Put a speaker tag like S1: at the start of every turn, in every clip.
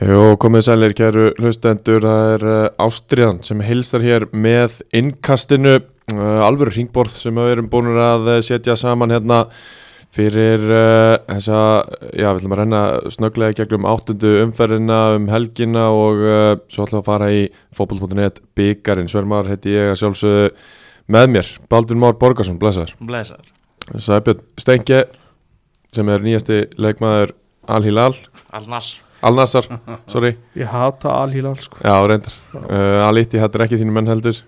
S1: Jó, komið sælir kæru hlustendur, það er eh, Ástriðan sem hilsar hér með innkastinu, eh, alvöru ringborð sem við erum búin að eh, setja saman hérna fyrir uh, þessa, já, við ætlum að renna snögglega í gegnum áttundu umferðina um helgina og uh, svo ætlum við að fara í fótboll.net byggarinn, Svermar heiti ég að sjálfsögðu með mér, Baldur Már Borgarsson, blessaður.
S2: Blesar
S1: Sæbjörn Stenke sem er nýjasti leikmaður Al-Hilal,
S2: Alnars
S1: Al-Nassar, sorry.
S3: Ég hata alhílal sko
S1: Já, reyndar. Uh, Alíti, þetta er ekki þínu menn heldur.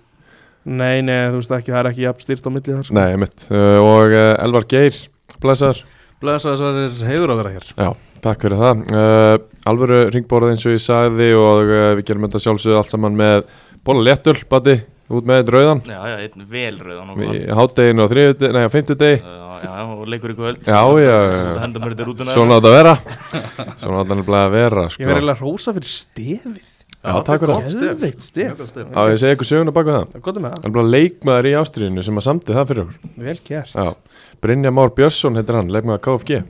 S3: Nei, nei, þú veist ekki, það er ekki jafn styrt á milli þar sko
S1: Nei, mitt. Uh, og uh, Elvar Geir, blessaður.
S4: Blessaður svo er heiður að vera hér
S1: Já, takk fyrir það. Uh, alvöru ringborð eins og ég sagði og uh, við gerum þetta sjálfsögðu allt saman með bóla léttul, bati, út með þetta rauðan.
S2: Já, já, einn velröðan og
S1: Í hátdeginu og þriðjudegi, nei, á fimmtudegi.
S2: Já, já, og leikur í kvöld
S1: Já, já, já.
S2: Þetta henda mér þetta hérna. rútuna
S1: Svona átt að vera. Svona átt að nefnilega að vera,
S3: Ég verði
S1: sko.
S3: eiginlega rósa fyrir stefið
S1: Já, takk fyrir það.
S3: Geðveikt stef
S4: Mjög gott stef.
S1: Já, ég segi ykkur söguna baka það.
S3: Það er gott með
S1: Það er bara leikmaður í Ástriðinu sem að samti það fyrir okkur.
S3: það Vel gert
S1: Já, Brynja Már Björnsson heitir hann, leikmaður KFG,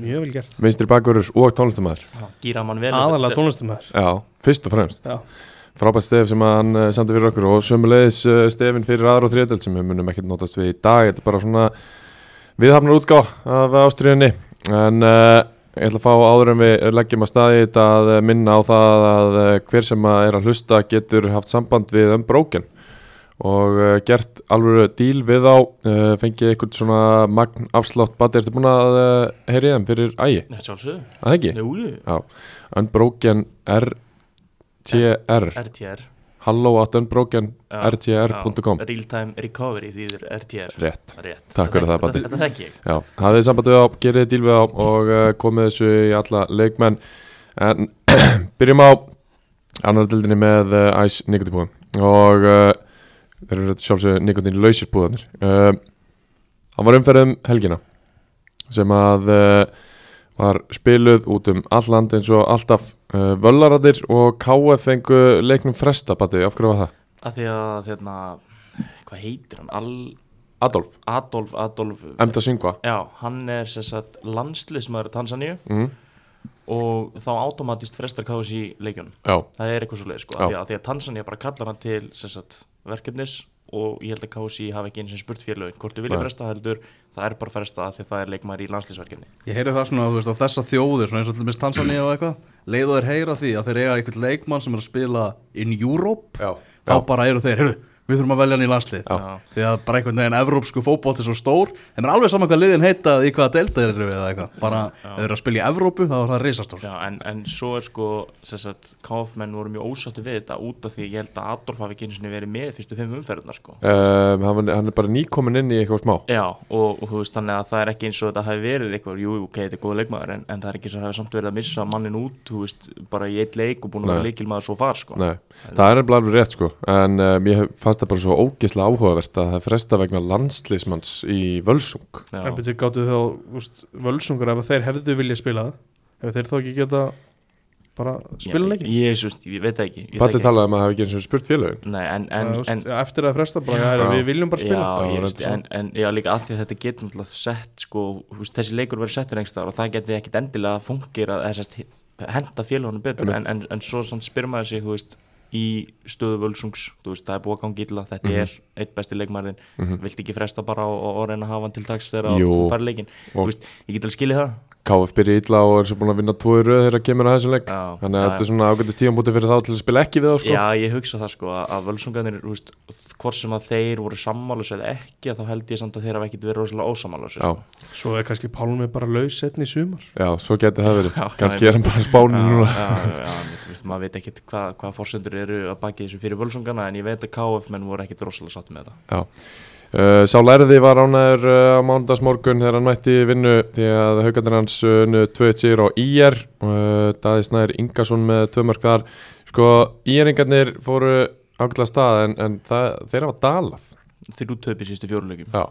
S3: Mjög vel gert
S1: vinstri bakurur og tónlistamæður.
S2: Gýra mann vel
S3: Aðalega tónlistum þar
S1: Já, fyrst og fremst
S3: Já.
S1: Frábært stef sem hann uh, samdi fyrir okkur og sömulegis uh, stefin fyrir aðra og þriðdelt sem við munum ekkert notast við í dag Þetta er bara svona viðhafnar útgá af ástriðinni En uh, ég ætla að fá áður en við leggjum að staði þetta að uh, minna á það að uh, hver sem að er að hlusta getur haft samband við Unbroken og uh, gert alveg díl við á uh, fengið eitthvað svona magn afslátt bati, ertu búin að uh, heyri þeim fyrir ægi,
S2: Nei, sjálfsög
S1: að það ekki?
S2: Jú, jú.
S1: Unbroken RTR
S2: RTR
S1: Hello at unbrokenrtr.com
S2: Já, Real time recovery þýðir RTR
S1: Rétt,
S2: Rétt
S1: Takk fyrir það, Baddi.
S2: Baddi Þetta þekki ég
S1: já, hafið samband við á, gerið þið díl við á og uh, komið þessu í alla leikmenn en byrjum á annar dildinni með uh, Ice Nikotipúðan og uh, þeir eru sjálfsög Nikotin lausir búðanir uh, hann var umferð um helgina sem að uh, var spiluð út um all land eins og alltaf uh, völlaradir og KF fengu leiknum fresta, Batti, af hverju var það?
S2: Af því að, hérna Hvað heitir hann? Al...
S1: Adolf,
S2: Adolf, Adolf
S1: Emta Singva
S2: Já, hann er sem sagt landsliðsmaður Tansaníu
S1: mm.
S2: og þá automatist frestar káðs í leikjunum
S1: Já,
S2: það er eitthvað svo leið
S1: Já.
S2: sko, af því að, af því að Tansanía bara kallar hann til sem sagt, verkefnis og ég held að KSI hafi ekki eins og spurt félögin hvort þau
S1: Nei.
S2: vilja fresta heldur, það er bara fresta af því að það er leikmaður í landslýsverkefni
S4: Ég heyri það svona, þú veist, að þessa þjóðir svona eins og til minnst Tansaníu og eitthvað leiðu þeir heyra því að þeir eiga einhvern leikmann sem er að spila in Europe
S1: já,
S4: þá bara eru þeir, heyrðu, við þurfum að velja hann í landslið
S1: Já.
S4: því að bara einhvern veginn evrópsku fótbolt er svo stór þeim er alveg saman hvað liðin heita í hvaða delta þeir eru við eða eitthvað bara ef þeir eru að spila í Evrópu þá er það reisastór
S2: Já, en, en svo er sko sem sagt, KF menn voru mjög ósáttu við þetta út af því ég held að Adolf hafi ekki eins og verið með fyrstu fimm umferðunar sko
S1: um, hann, hann er bara nýkomin inn í eitthvað smá
S2: Já, og, og þú veist þannig að það er ekki eins og þetta hafi verið eitthvað, jú, jú, ok, þetta er góð leikmaður en, en það er ekki eins og það hafi samt verið að missa mannin út, þú veist, bara í eitt leik og búin að vera
S1: Nei.
S2: leikilmaður svo far sko
S1: Nei, það er nefnilega alveg rétt sko en um, ég hef- fannst það bara svo ógislega áhugavert að það er fresta vegna landslýsmanns í Völsung
S2: Já.
S3: En betur gáttu þá, úst, völsungar ef þeir hefðu viljað spila það Ef þeir þá ekki geta bara spila leikin
S2: Ég, ég, ég, ég veit það ekki ég
S1: Patti
S2: þekki-
S1: talaði um að hafa ekki eins og spurt félögin
S2: Nei, en, en,
S3: Það, þú
S2: en,
S3: veist, Eftir að fresta bara,
S2: Já.
S3: já, við viljum bara spila
S2: Já,
S1: Já,
S2: ég veist,
S1: reyndar
S2: en, en já, líka af því að þetta getur náttúrulega sett sko, húst, þessi leikur verið settur einhvers þar og það geti ekkit endilega fungir að þessast henda félagunum betur
S1: Einmitt.
S2: en, en, en svo samt spyr maður sig húst, í stöðu völsungs þú veist, það er búið að gangi illa, þetta
S3: Mhm.
S2: er eitt besti leikmarin, mm vilt ekki fresta bara og, og, og reyna að hafa hann til dags þegar
S1: Jú.
S2: þú fær leikin
S1: Og-
S2: Þú veist, ég get alveg skilið það
S1: KF byrja illa og er svo búin að vinna tói röð þegar að kemur að þessum leik
S2: Já,
S1: þannig að
S2: já,
S1: þetta er svona ágættist tíðanbúti fyrir þá til að spila ekki við þá sko
S2: Já, ég hugsa það sko að- að völsungarnir, þú veist, hvort sem að þeir voru sammálusið eða ekki, að þá held ég samt að þeir hafa ekkit verið rosalega ósammálusið
S1: Já.
S2: sko.
S3: Svo er kannski Pálmi bara laus setni í sumar
S1: Já, svo geti það verið,
S2: Já,
S1: kannski
S2: já,
S1: er hann bara spáni
S2: Já,
S1: núna
S2: já, já, já, þú veist, maður veit ekkert hvað, hvað forsendur eru að baki þessu fyrir völsungana en ég veit að KF menn voru ekkert rosalega satt með þetta
S1: Já. Uh, sá lærði var ánæður uh, á mándagsmorgun þegar hann mætti í vinnu því að haugarnir hans eh, unnu 2-1 sigur á IR uh, Daði Snæður Ingarsson með tvö mörg þar sko IR-ingarnir fóru ágætla stað en, en það, þeirra var dalað
S2: þrjú töpi sístu fjóruleikum
S1: Já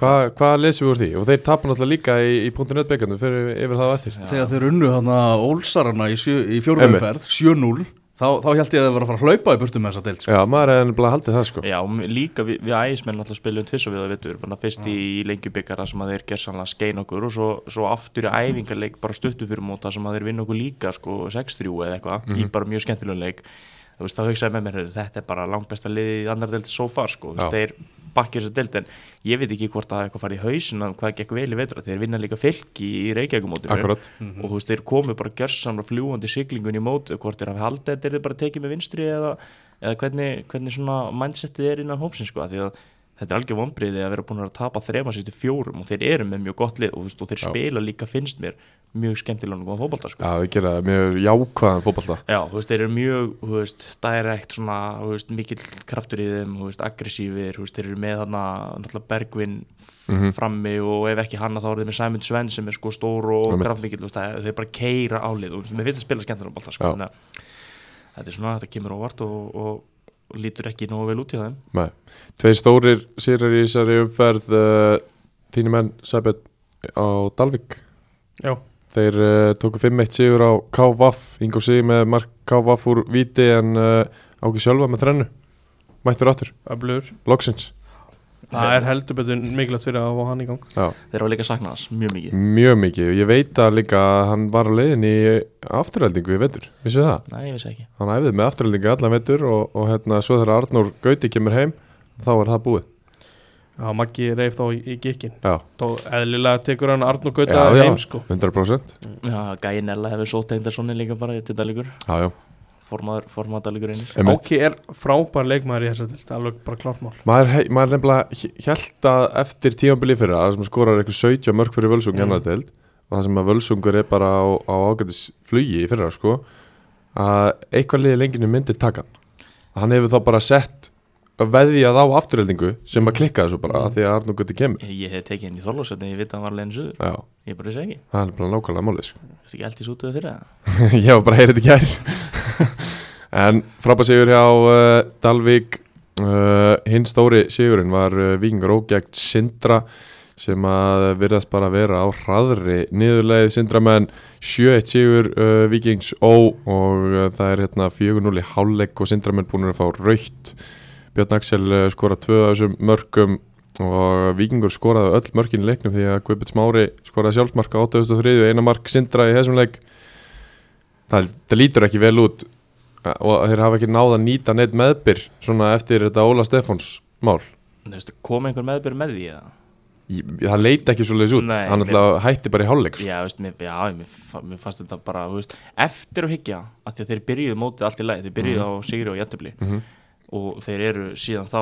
S1: Hva, Hvað lesum við úr því? Og þeir tapar náttúrulega líka í, í .net byggjandu fyrir yfir það á eftir
S4: Þegar þeir unnu hana ólsarana í, sjö- í fjórðum
S1: Einmitt.
S4: umferð, 7-0 þá, þá held ég að þeir voru að fara að hlaupa í burtu með þessa deilt sko.
S1: Já, maður er ennbla haldið það sko
S2: Já, og m- líka við, við ægismenn alltaf spiljum tviss um og við það vittur, bara fyrst í lengjubikkara sem að þeir gerðsanlega skein okkur og svo, svo aftur í æfingarleik bara stuttu fyrir móta sem að þeir vinna okkur líka sko 6-3 eða eitthvað,
S1: Mhm.
S2: í bara mjög skemmtilegum leik þú veist, þá hugsaði með mér, heyrðu, þetta er bara langt besta liðið í annar delti so far sko, þú veist,
S1: Já.
S2: þeir bakkið þessa deild en ég veit ekki hvort að eitthvað farið í hausin að hvað gekk vel í vetra, þeir vinna líka fylki í Reykjavíkumótinu
S1: Akkúrat.
S2: og þú veist, þeir komu bara gjörsamla fljúandi siglingun í mót, hvort þeir hafi haldið þetta er þeir bara tekið með vinstri eða, eða hvernig, hvernig svona mindsetið er innan hópsins sko, af því að þetta er algjör vonbriði að vera búin að tapa þrema sýstu fjórum og þeir eru með mjög gott lið og, þú veist, og þeir spila líka finnst mér mjög skemmtilega og góðan fótbolta sko.
S1: Já, við gera það mjög jákvæðan fótballta
S2: Já, þú veist, þeir eru mjög, þú veist, direkt svona, þú veist, mikill kraftur í þeim, þú veist, aggressífir, þú veist, þeir eru með þarna, náttúrulega Bergvin
S1: Mhm.
S2: frammi og ef ekki hanna þá eru þeir með Sæmund Sven sem er sko stór og
S1: Einmitt.
S2: kraftmikill, þú veist, það- þeir bara keira álið, þú veist, mér finnst að spila skemmtilega um alltaf, sko,
S1: Já.
S2: þannig að þetta er svona, þetta kemur óvart og, og, og lítur ekki nógu vel út í þeim.
S1: Nei, tveir stórir sýrar í þessari umferð uh, Þínu menn Sæbjörn á Dalvik
S3: Já,
S1: Þeir uh, tóku 5-1 sigur á K-Waff Ingo Sig með mark K-Waff úr viti en uh, áki sjálfa með þrennu Mættur aftur,
S3: öflugur
S1: loksins
S3: Það er heldur betur mikilvægt fyrir að fá hann í gang
S1: Já,
S2: Þeir eru líka saknað hans mjög mikið.
S1: mjög mikið Ég veit að líka að hann var á leiðin í afturhaldingu í vetur, vissu það?
S2: Nei, ég vissi ekki.
S1: hann æfði með afturhaldingu allan vettur og, og hérna svo þegar Arnór Gauti kemur heim þá er það búið
S3: Já, Maggi reif þá í, í gikkin
S1: já,
S3: Tó eðlilega tekur hann Arnur Gauta
S1: Já, já.
S3: heim sko
S1: 100%
S2: Já, Gæin Ella hefur sótt eindarsonni líka bara til daligur,
S1: já, já,
S2: formaður, formaður daligur einir.
S1: einmitt.
S3: Áki er frábær leikmaður í þessar dild Alveg bara klart mál
S1: maður, hei- maður nefnilega held að eftir tímanbili fyrir að sem skorar eitthvað 17 mörg fyrir völsung mm. deild, og það sem að völsungur er bara á, á ágætis flugi í fyrra sko að eitthvað liði lenginu myndi taka hann hann hefur þá bara sett að veðjað á afturhaldingu sem að klikka þessu bara af því að Arnór Gauti kemur
S2: Ég, ég hef tekið henni í Þorlósöfni, ég veit að hann var leginn suður,
S1: já,
S2: ég bara vissi ekki.
S1: það er nefnilega nákvæmlega málið sko
S2: Þessi ekki eldis út af þeirra
S1: ég var bara að heyra þetta í gær en frábæð sigur hjá uh, Dalvik uh, hinn stóri sigurinn var uh, Víkingur Ógjægt Sindra sem að virðast bara vera á hraðri niðurleið Sindramenn 7-1 sigur uh, Víkings Ó og uh, það er hérna 4-0 í hálfleik og Sindramenn búin að fá raukt Björn Axel uh, skora tvö af þessum mörkum og Víkingur skoraði öll mörkin í leiknum því að Guðbjörn Smári skoraði sjálfsmarka 8.3 eina mark Sindra í þessum leik það, það lítur ekki vel út eh, og þeir hafa ekki náða að nýta neitt meðbyr svona eftir þetta Óla Stefáns mál
S2: Þú veist, kom einhver meðbyr með því eða?
S1: Ég- það leit ekki svo leiðis út
S2: Nei,
S1: hann
S2: mér-
S1: alltaf hætti bara í hálfleik sko.
S2: Já, veist, mér, já mér, fa- mér fannst þetta bara þú veist, eftir að hyggja, af því að þeir byrjuðu mótið allt í lagi, þeir byrjuðu á Sigri og Jættubli og þeir eru síðan þá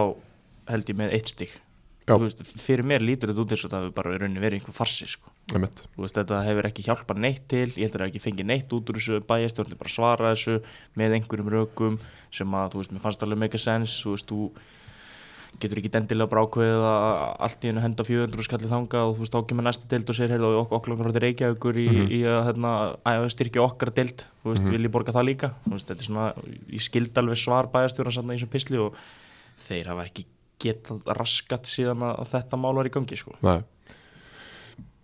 S2: held ég með eitt stig
S1: Já.
S2: Þú veist, fyrir mér lítur þetta út eins og það hefur bara í rauninni verið einhver farsi sko.
S1: einmitt.
S2: Þú veist, þetta hefur ekki hjálpað neitt til ég held að það hafi ekki fengið neitt út úr þessu bæjastjórnir bara svara þessu með einhverjum rökum sem að, þú veist, mér fannst alveg mega sens þú veist, þú getur ekki dendilega bara ákveðið að allt í hennu henda 400 skallið þangað og þú veist, þá kemur næsta deild og segir, heyrðu, ok- okkur langar hóttir reykja ykkur í, í að, hérna, að styrkja okkar deild þú veist, vil ég borga það líka þú veist, þetta er svona, ég skildi alveg svar bæjastjórnir samt í þessum pisli og þeir hafa ekki getað raskat síðan að þetta mál var í gangi, sko.
S1: Nei.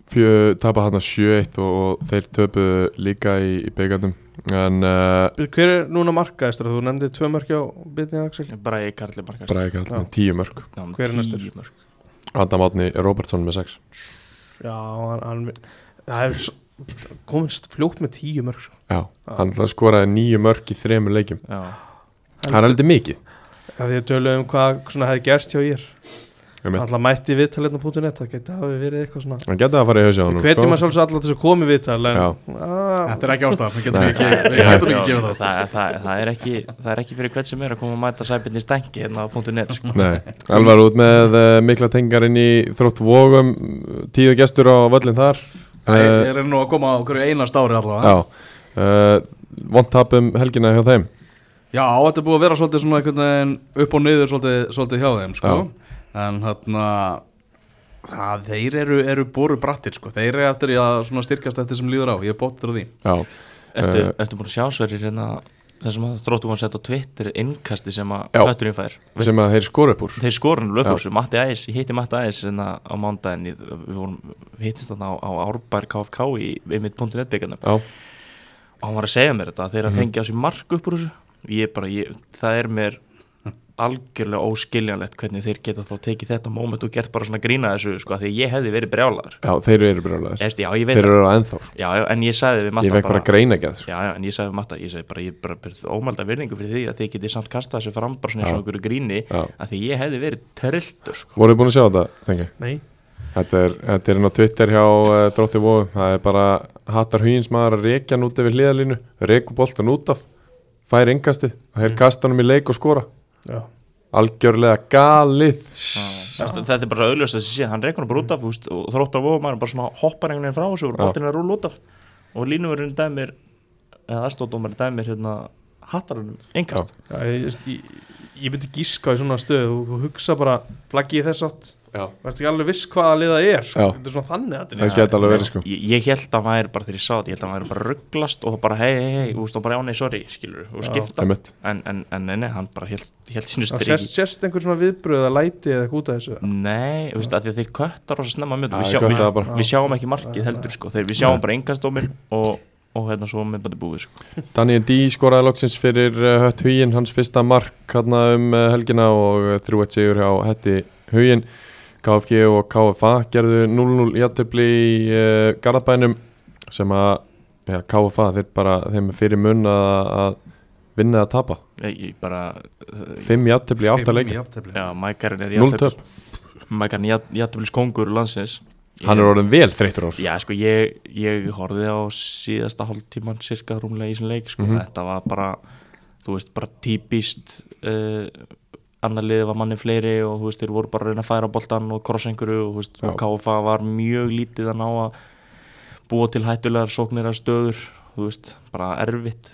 S1: fjö tapa hann að 7-1 og, og þeir töpu líka í, í byggandum en uh,
S3: Býr, Hver er núna markaðistur? Þú nefndi tvö mörkja á Bitni Axel
S2: Bara ég karlir markast.
S1: bara ekki alltaf með 10 mörg
S3: Hver er næstur?
S1: Adam Átni Robertson með 6
S3: Já, hann, hann Það hefur s- komist fljótt með tíu mörk sko.
S1: já, hann alltaf skoraði 9 mörg í þremur leikjum
S2: Já,
S1: hann er aldrei mikið
S3: Ef því að tölu um hvað svona hefði gerst hjá ég
S1: einmitt.
S3: Alltaf mætti viðtaleitna.net Það geti hafi verið eitthvað svona
S1: hann getið að fara í hausja hann
S3: Við hvetjum að sjálfsög allar til þess að komi viðtal En
S1: sko. Já.
S3: Ah,
S4: Þetta er ekki ástaf, við getum
S1: Nei.
S4: ekki, við getum ekki
S2: Já,
S4: gefið það
S2: það, það, það, er ekki, það er ekki fyrir hvern sem er að koma að mæta sæbindni stengi hérna á punktu net sko.
S1: Nei, Elvar út með uh, mikla tengar inn í þrótt vógum tíu gestur á völlin þar
S4: Þeir
S1: uh,
S4: eru nú að koma á hverju einast ári allavega
S1: Já uh, Vondtapum um helgina hjá þeim
S4: Já, þetta er búið að vera svolítið svona einhvern veginn upp og niður svolítið, svolítið hjá þeim sko. en þarna það, þeir eru, eru boru brattir sko. þeir eru eftir í að svona styrkast eftir sem líður á ég er bóttur á því
S1: Já,
S2: Ertu,
S1: Eh.
S2: ertu búin að sjá sverir hérna það sem að þróttum var sett á Twitter innkasti sem að
S1: Já.
S2: hötturinn fær
S1: sem að þeir skora upp úr
S2: þeir skorun lögfúsu, Matti Æs, ég hitti Matti Æs hérna á mándaginn, við vorum við hittist þarna á, á Árbær KFK í einmitt.net byggarnum
S1: Já,
S2: og hann var að segja mér þetta, að þeir
S1: Mhm.
S2: að fengja á sig mark upp úr þessu, ég bara, ég, það er mér algjörlega óskiljanlegt hvernig þeir geta þá tekið þetta moment og gert bara svona grína þessu, sko, af því að ég hefði verið brjálagur,
S1: já þeir eru brjálæðir
S2: eftir, já, ég veit
S1: Þeir
S2: það.
S1: eru á ennþá sko.
S2: já, já, en ég sagði við Matta
S1: Ég vekk bara greina gerð sko.
S2: Já, já, en ég sagði um Matta, ég sagði bara, ég bara byrð ómælda virðingu fyrir því að þið getið samt kastað þessu fram bara svona eins og einhverju gríni
S1: Já.
S2: að því ég hefði verið trilltur, sko.
S1: Voruð þið búin að sjá þetta, þengi?
S3: Nei,
S1: Þetta er, þetta er inn á Twitter hjá uh, Drótti Vóðum, það er bara hattar hugins maður að reykja hann út yfir hliðalínu reyku boltan út af, fær yngasti og þeir kasta hann um í leik og skora
S3: já,
S1: algjörlega galið
S2: Þetta þetta er bara auðljóst að þessi sé, hann reikur hann bara út af þú veist, og þrótt á vofum, hann bara svona hoppar einhvern veginn frá og svo voru
S1: Já.
S2: boltinn að rúla út af og línumurinn dæmir, eða aðstóðdómar dæmir hérna hattarunum yngast.
S3: já ég, veist, ég, ég myndi gíska í svona stöðu þú, þú hugsa bara, flaggi ég þess átt
S1: Já,
S3: verður ekki alveg viss hvaða liða er sko.
S1: Já.
S3: þetta er svona þannig að
S1: það geta alveg verið sko
S2: Ég, ég held að maður bara þegar ég sá þetta, ég held að maður bara rugglast og bara hei, hei, hei, og bara já, nei, sorry, skilur, og
S3: Já.
S2: skipta,
S1: Einmitt.
S2: en, en, en nei, nei, hann bara held, held sínu
S3: það
S2: striki.
S3: sérst, sérst einhver svona viðbröð að læti eða eitthvað út af þessu
S2: Nei, þú veist, af því að þeir köttar rosa snemma
S1: Já,
S2: mjög, við,
S1: þeir
S2: sjá,
S1: kötta
S2: við,
S1: það bara.
S2: við sjáum ekki markið heldur sko. þeir, við sjáum bara engastómin og, og hérna svo með bara búið sko.
S1: Daniel D skoraði loksins fyrir uh, Hött Hugin, hans fyrsta mark hann um uh, helgina og uh, 3-1 sigur hjá Hetti Hugin KFG og KFA gerðu 0-0 játtöfli í uh, Garðabænum sem að ja, KFA þeir bara þeim er fyrir mun að, að vinna að tapa
S2: ég, ég bara Fimm.
S1: 5 játtöfli í 8 leikja
S2: já, Mækarinn er
S1: 0 töp,
S2: Mækarinn er jættabils kongur landsins Ég-
S1: hann er orðin vel þreytur á þessu
S2: Já, sko, ég, ég horfið á síðasta hálftíman cirka rúmlega í þessum leik, sko, þetta var bara, þú veist, bara típist, uh, annar liðið var manni fleiri og, þú veist, þeir voru bara að reyna að færa boltan og krossa einhverju og, þú veist, og
S1: Já.
S2: KFA var mjög lítið að ná að búa til hættulegar sóknir að stöður, þú veist, bara erfitt.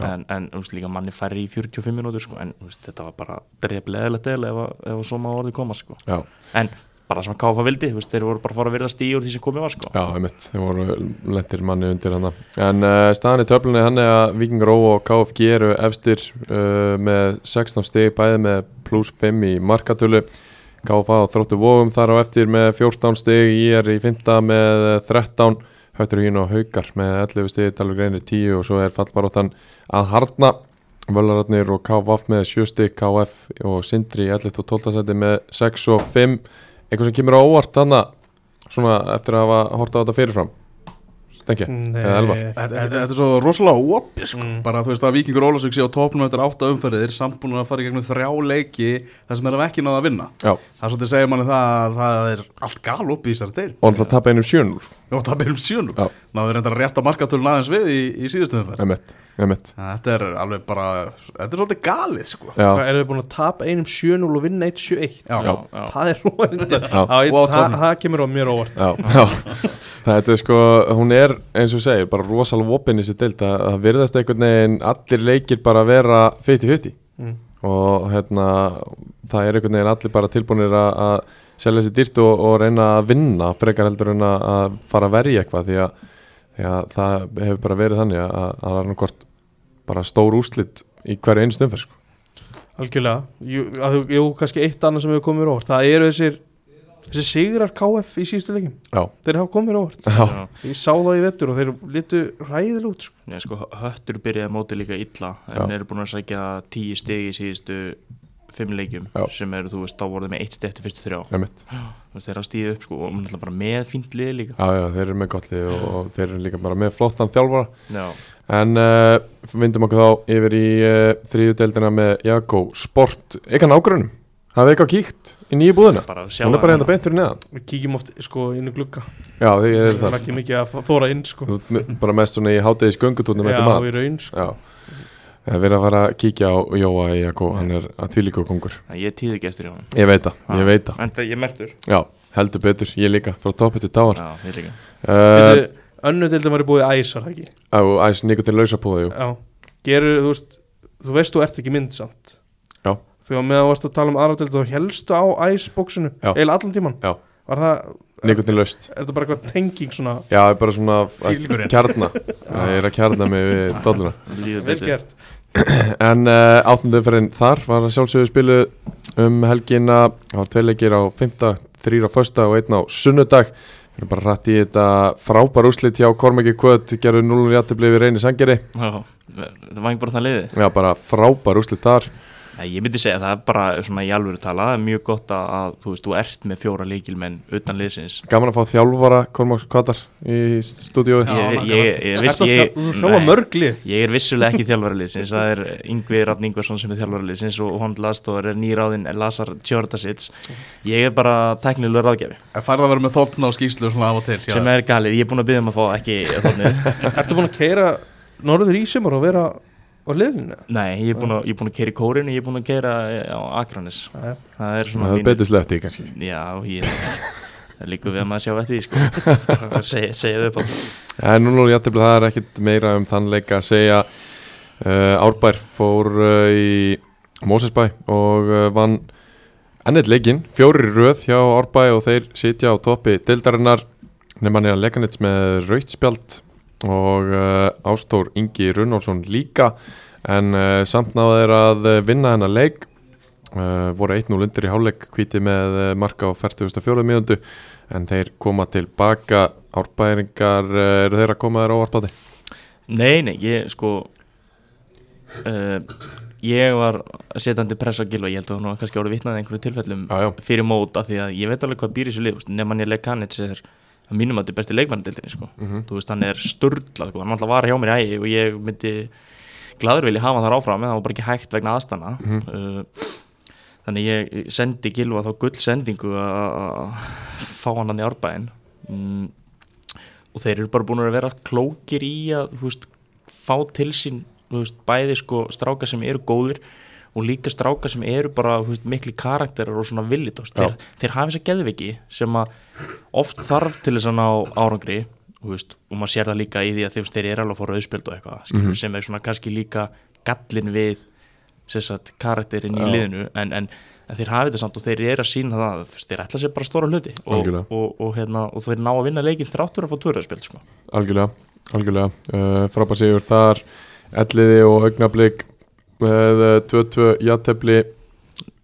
S2: En, en þú veist, líka manni færri í 45 minútur sko, en þú veist, þetta var bara dreflega eða ef, að- ef að svo maður orðið koma sko.
S1: Já,
S2: en bara sem að KFA vildi, þú veist, þeir voru bara að fara að verða stígur því sem komið var sko.
S1: já, einmitt, þeir voru lendir manni undir hann En uh, staðan í töflunni hann er að Vikingur Ó og KFG eru efstir uh, með 16 stig, bæði með pluss 5 í markatölu KFA og Þróttu Vógum þar á eftir með 14 stig, ég er í 5 með eh, 13 Höttur Hín og Haukar með 11 stig, Dalur Greinir 10 og svo er fallbaróttan að harna Völararnir og KVF með 7 stig, KF og Sindri í 11 og 12 seti með 6 og 5 Eitthvað sem kemur á óvart þannig svona eftir að hafa horta á þetta fyrirfram Stengi, eða Elvar
S3: Nei,
S4: Þetta þetta- þetta er svo rosalega opið sko.
S3: Mm.
S4: bara þú veist að Víkingur Ólafsvík sé á topnum eftir átta umferðir samt búin að fara í gegnum þrjá leiki þar sem er ekki náða að vinna
S1: Já,
S4: það er svolítið að segja manni það að það er allt gal opið í þessari deil
S1: og hann það tappa einum 7-0
S4: og það byrjum sjónum
S1: Já.
S4: náður reyndar að rétta markatölun aðeins við í, í síðustu umferð
S1: Emmett, Emmett
S4: þetta er alveg bara þetta er svolítið galið sko
S3: Hvað
S1: Já,
S3: eru þið búin að tapa einum 7-0 og vinna 1-7-1?
S4: Já.
S1: Sko, Já.
S2: já.
S3: Það er róandi
S1: Já.
S4: Og á
S3: Það
S4: tánum.
S3: það kemur á mér óvart
S1: já, já Það er sko, hún er eins og segir bara rosalega opinn í sér deild að það virðast einhvern veginn allir leikir bara vera 50-50
S3: Mm.
S1: og hérna það er einhvern veginn allir bara tilbúinir að- að selja sér dýrt og, og reyna að vinna frekar heldur en að- að fara að verja eitthvað því að, því að það hefur bara verið þannig að að það er annarkort bara stór úrslit í hverju einu stundferð sko.
S3: Algjörlega, jú, að þú- jú, kannski eitt annað sem hefur komið mér á óvart Það eru þessir, þessir sigrar KF í síðustu leikim
S1: Já,
S3: Þeir hafa komið mér á óvart
S1: já,
S3: Ég sá það í vettur og þeir litu ræðilega út sko.
S2: Nei, sko, höttur byrjaði móti líka illa en
S1: Já.
S2: eru búin að sækja tíu stig í síðustu fimm leikjum
S1: Já.
S2: sem eru, þú veist, þá voru þeir með eitt stið eftir fyrstu þrjá
S1: Emmett
S2: þú veist, þeir eru að stíða upp, sko, og náttúrulega bara með fínt lið líka
S1: Já, já, þeir eru með gott lið og, og þeir eru líka bara með flottan þjálfara
S2: Já,
S1: En uh, vindum okkur þá yfir í uh, þriðju deildina með Jakko Sport Eitthvað nágrunum, hafið eitthvað kíkt í nýju búðina?
S2: bara sjá
S1: Hún er bara hérna beint fyrir neðan
S3: Við kíkjum oft sko, inn í glugga
S1: Já, þið
S3: Það
S1: eru
S3: er
S1: þar
S3: ekki mikið að þóra inn sko.
S1: Þú ert me- bara mest svona í hátegis göngutúrnum
S3: Já,
S1: eftir
S3: í
S1: mat
S3: raun sko.
S1: Já, Eh, við erum að fara að kíkja á Jóa í Jakko, hann er að tvílíku kongur
S2: Það ég er tíði gestur hjá hann
S1: Ég veit það,
S2: Ah.
S1: ég veit það
S2: En það ég er mertur
S1: Já, heldur betur, ég líka, frá toppi til táar
S2: Já, þið líka
S1: uh,
S3: Veitu, Önnu deildum var í búið æs var það ekki
S1: Á, æs, nikotin lausapúða, jú
S3: Já, gerur, þú veist Þú veist, þú ert ekki myndsamt
S1: Já.
S3: Þegar meðan varst að tala um aðra deildu Þá helstu á æsbóksinu,
S1: Já.
S3: eiginlega allan tíman
S1: Já.
S3: Var það,
S1: Nikotin laust
S3: er þetta bara eitthvað tenging svona
S1: Já, það er bara svona að
S4: Fílgurinn.
S1: kjarna Ég er að kjarna mig við dolluna
S2: Líður
S3: Vel
S2: betur
S3: gert
S1: en uh, áttundumferðin þar var að sjálfsögðu spilu um helgina það var tveilegir á 5. þrýr á fösta og einn á sunnudag við erum bara rætt í þetta frábær úslit hjá Kormæki Kvöt gerðu 0 í aðtöfli við reyni sangeri
S2: Já, það var ekki bara það liði
S1: já bara frábær úslit þar
S2: Nei, ég myndi segja að það er bara svona í alvöru tala, það er mjög gott að, að þú veist, þú ert með fjóra leikilmenn utan liðsins
S1: gaman að fá þjálfara Kormæks Kvatar í stúdiói
S2: Ég- ég- ég- ég viss-
S3: Ertu að
S2: ég-
S3: þjá- þú þjálfa
S2: nei.
S3: mörg lið
S2: Ég er vissulega ekki þjálfari liðsins, það er Yngvi Rafn Yngvarsson sem er þjálfari liðsins og hann lastóður er nýráðinn Lazar Tjördasits. Ég er bara teknilegur ráðgjafi
S4: En færð að vera með þólna og skýslu svona af og til
S2: sem er galið, ég er búin að byggja um að fá ekki þannig.
S3: Ertu búin að keira norður í sumar og vera á liðinu?
S2: Nei, ég er búin að, ég er búin að keira í kórinu, ég er búin að keira á Akranes.
S3: Jæja.
S2: Það er svona
S1: það er
S2: mín-
S1: betið slefti kannski
S2: Já, ég það líkur við að maður sjá eftir því sko. segja, segja þau upp á
S1: En núna er jættibli, það er ekkit meira um þann leik að segja uh, Árbær fór uh, í Mósesbæ og uh, vann ennett leikinn, fjórir í röð hjá Árbæ og þeir sitja á toppi dildarinnar nema nýja leikanits með rautspjald og uh, Ástór Ingi Runnálsson líka en uh, samt náðu þeir að eh, vinna hennar leik uh, voru 1-0 undir í hálfleik hvíti með uh, marka á 44. mínúndu en þeir koma tilbaka árbæringar eh, eru þeir að koma þér á vartbáti
S2: Nei, nei, ég sko uh, ég var setandi pressa á gilva, ég held að hún var kannski árið vitnaði einhverju tilfellum
S1: Já, já.
S2: fyrir mót af því að ég veit alveg hvað býr í þessu lið úst, nema Nélek Kanits er að mínum að þetta er besti leikmannadildinni sko.
S1: Mhm.
S2: þú veist, hann er sturdla sko. hann alltaf var hjá mér í ægi og ég myndi gladur vilja hafa hann þar áfram en það var bara ekki hægt vegna aðstana
S1: Mhm.
S2: uh, þannig ég sendi gilva þá gull sendingu að fá hann hann í árbæðin mm, og þeir eru bara búin að vera klókir í að þú veist, fá til sín þú veist, bæði sko strákar sem eru góðir og líka strákar sem eru bara þú veist, mikli karakterar og svona villit þeir, þeir hafa þess að geðviki sem að oft þarf til þess að ná árangri þú veist, og maður sér það líka í því að þeir, þeir eru alveg að fóra auðspild og eitthvað mm sem er svona kannski líka gallin við sem sagt, karakterinn í liðinu en, en, en þeir hafi þetta samt og þeir eru að sína það þú veist, þeir ætla sér bara stóra hluti og,
S1: Algjörlega.
S2: og, og, hérna, og þeir ná að vinna leikinn þráttur að fá tvöraðspil sko.
S1: algjörlega, algjörlega uh, frábær sigur þar elliði og augnablík með eh, 2-2 játefli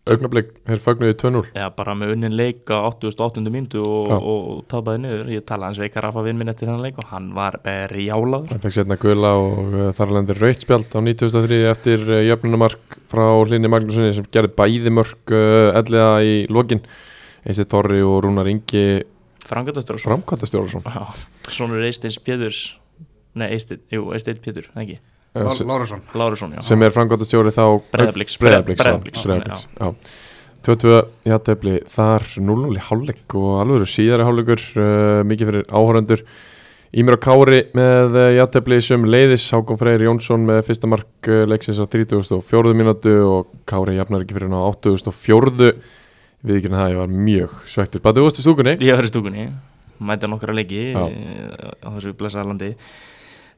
S1: augnablík, þeir fagnuði 2-0
S2: eða bara með unnin leik á 88. myndu og,
S1: Já.
S2: og, og tapaði niður ég talaði hans veikar af að vinn minn eftir þann leik og hann var berjálaður
S1: hann fekk setna gula og uh, þarlendir rautspjald á 2003 eftir uh, jöfnunumark frá Hlinni Magnússoni sem gerði bæði mörk uh, elliða í lokin Eisi Torri og Rúnar Ingi
S2: frangatastur og
S1: framkvæmtastjóðarsson
S2: svo svonur Eisteins Péturs nei Eisteinn, jú Eisteinn Pétur, það ekki
S1: Eh,
S4: Lárusson
S2: Lárusson, já
S1: sem er framkvæmtastjóri þá
S2: Breiðabliks,
S1: Breiðabliks,
S2: Breiðabliks,
S1: já, Breiðabliks, já 22 játefli þar 0-0 í hálfleik og alveg síðari hálfleikur uh, mikið fyrir áhórandur Ímir og Kári með uh, játefli sem leiðis Hákon Freyr Jónsson með fyrsta mark uh, leiksins á 34. mínútu og Kári jafnar ekki fyrir hann á 84. Við ekki það, ég var mjög svektur Bæti úrst í stúkunni
S2: ég var í stúkunni, mæta nokkra leiki
S1: Já.
S2: eh, á þessu blessaða landi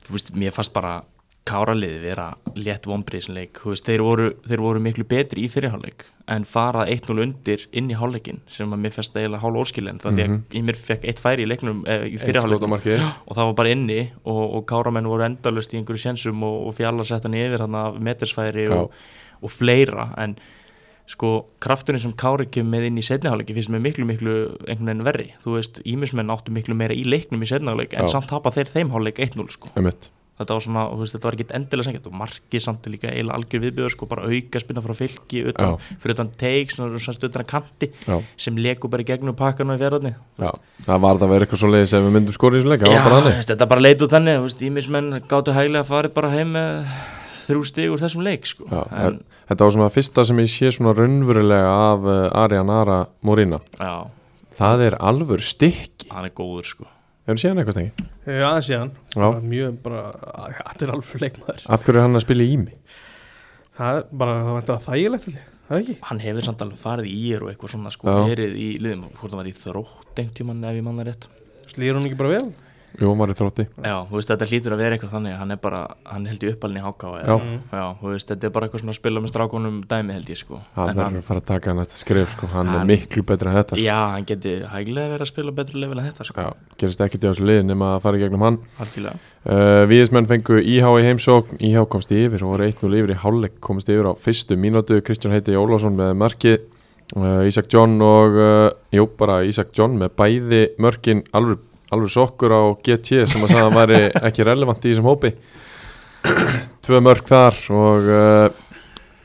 S2: þú veist, mér fannst bara káraliði vera létt vonbrið sem leik, þú veist, þeir voru, þeir voru miklu betri í fyrirháleik en farað 1-0 undir inn í háleikin sem að mér fannst eiginlega hálf óskilend það því að ég mér fekk eitt færi í leiknum eh, í
S1: Mhm. Eitt skot á
S2: fyrirháleiknum
S1: markið.
S2: og það var bara inni og, og káramenn voru endalust í einhverju sjensum og, og fjallar sett hann yfir hann af metersfæri
S1: Já.
S2: og, og fleira en sko krafturinn sem Kári kemur með inn í setniháleiki finnst mér miklu miklu einhvern veginn verri þú veist, ímismenn áttu miklu meira í leiknum í setniháleik en
S1: Já.
S2: samt tapa þeir þeim háleik 1-0 sko
S1: Einmitt.
S2: þetta var svona, þú veist, þetta var ekkit endilega sengjart og markið samt er líka eiginlega algjör viðbjöður sko bara auka spinna frá fylki utan, fyrir utan teik, svona svona utan að kanti
S1: Já.
S2: sem leku bara í gegnum pakkanu í verðarni
S1: Já, það var það að vera eitthvað svo leiðis ef við myndum skorið í þessum leika, það var bara
S2: þú
S1: þannig
S2: veist, þetta bara leit út þannig, þú veist, ímismenn gáttu hæglega að fara bara heim með þrjú stig úr þessum leik sko
S1: Já,
S2: en,
S1: Þetta var svona fyrsta sem ég sé svona raunverulega af uh, Arjan Ara Morína
S2: já,
S1: Það er alvör stykki
S2: hann er góður sko
S1: Hefur séð hann eitthvað stengi?
S3: Já, aðeins ég hann
S1: Já.
S3: Bara Mjög bara, þetta er alveg leikmaður
S1: Af hverju er hann að spila í mig?
S3: Það er bara, það vantar að þægilegt held ég. Það er ekki
S2: hann hefur samt alveg farið í ír og eitthvað svona sko,
S1: Já.
S2: verið í liðum, hvort það var í þrótt einhvern tímann ef ég manna rétt
S3: Slýr hún ekki bara vel?
S1: Jú, hann var í þrótti
S2: Já, þú veist, þetta hlýtur að vera eitthvað þannig Hann er bara, hann held í uppalni í háká
S1: Já.
S2: já, þú veist, þetta er bara eitthvað svona að spila með strákunum dæmi held ég sko
S1: Hann
S2: En
S1: verður að fara að taka næsta skrif sko. Hann er
S2: Hann-
S1: miklu betri en þetta sko.
S2: Já, hann geti hæglega verið að spila á betra level en þetta sko
S1: Já, gerist ekki til þessu lið nema að fara í gegnum hann
S2: Algjörlega
S1: uh, Víðismenn fengu IH í heimsókn IH komst yfir og voru 1-0 yfir í hálfleik komst yfir á fyrstu mínútu Kristján Heiti Ólásson með marki uh, Ísak John og uh, jú, bara Ísak John með bæði mörkin alveg, alveg sokkur á GT sem að sagði að væri ekki relevant í þessum hópi Tvö mörk þar og uh,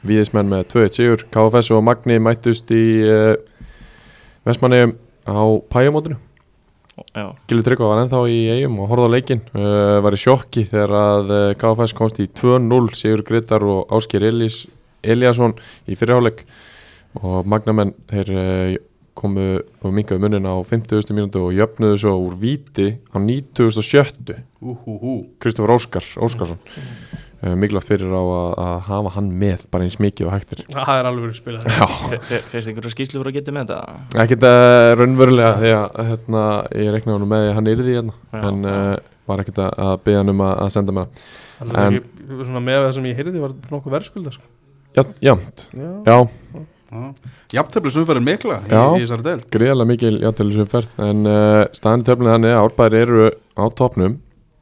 S1: Víðismenn með 2-1 sigur KFS og Magni mættust í uh, Vestmannegum á pæjumótinu
S2: Já,
S1: Gilvi Tryggva var ennþá í eigum og horfði á leikinn uh, var í sjokki þegar að uh, KFS komst í 2-0 Sigur Gretar og Ásker Elís, Eliasson í fyrirháleik og Magnamenn þeir uh, komu og mingaðu munin á 50. mínútu og jöfnuðu svo úr víti á 97.
S4: Úhúhú
S1: Kristofur Óskar, Óskarsson uh, mikilvægt fyrir á að, að hafa hann með bara eins mikið og hægtir
S3: Það er alveg verið spilað
S1: Já,
S2: fyrst einhverju skýslu voru að geta með þetta
S1: ekkert uh, raunverulega því að hérna, ég reknaði hann með því að hann yrði hérna
S2: Já.
S1: en uh, var ekkert að að beða hann um að, að senda mér það
S3: Það er ekki, svona með það sem ég heyrði var nokkuð verðskulda sko.
S1: Jafn- Jafnt,
S3: Já,
S1: já,
S4: Jafntöflis umferðin mikla í,
S1: Já.
S4: í þessari del
S1: greiðlega mikil játtilisumferð en uh, staðan í töflunni þannig að árbæðir eru á topnum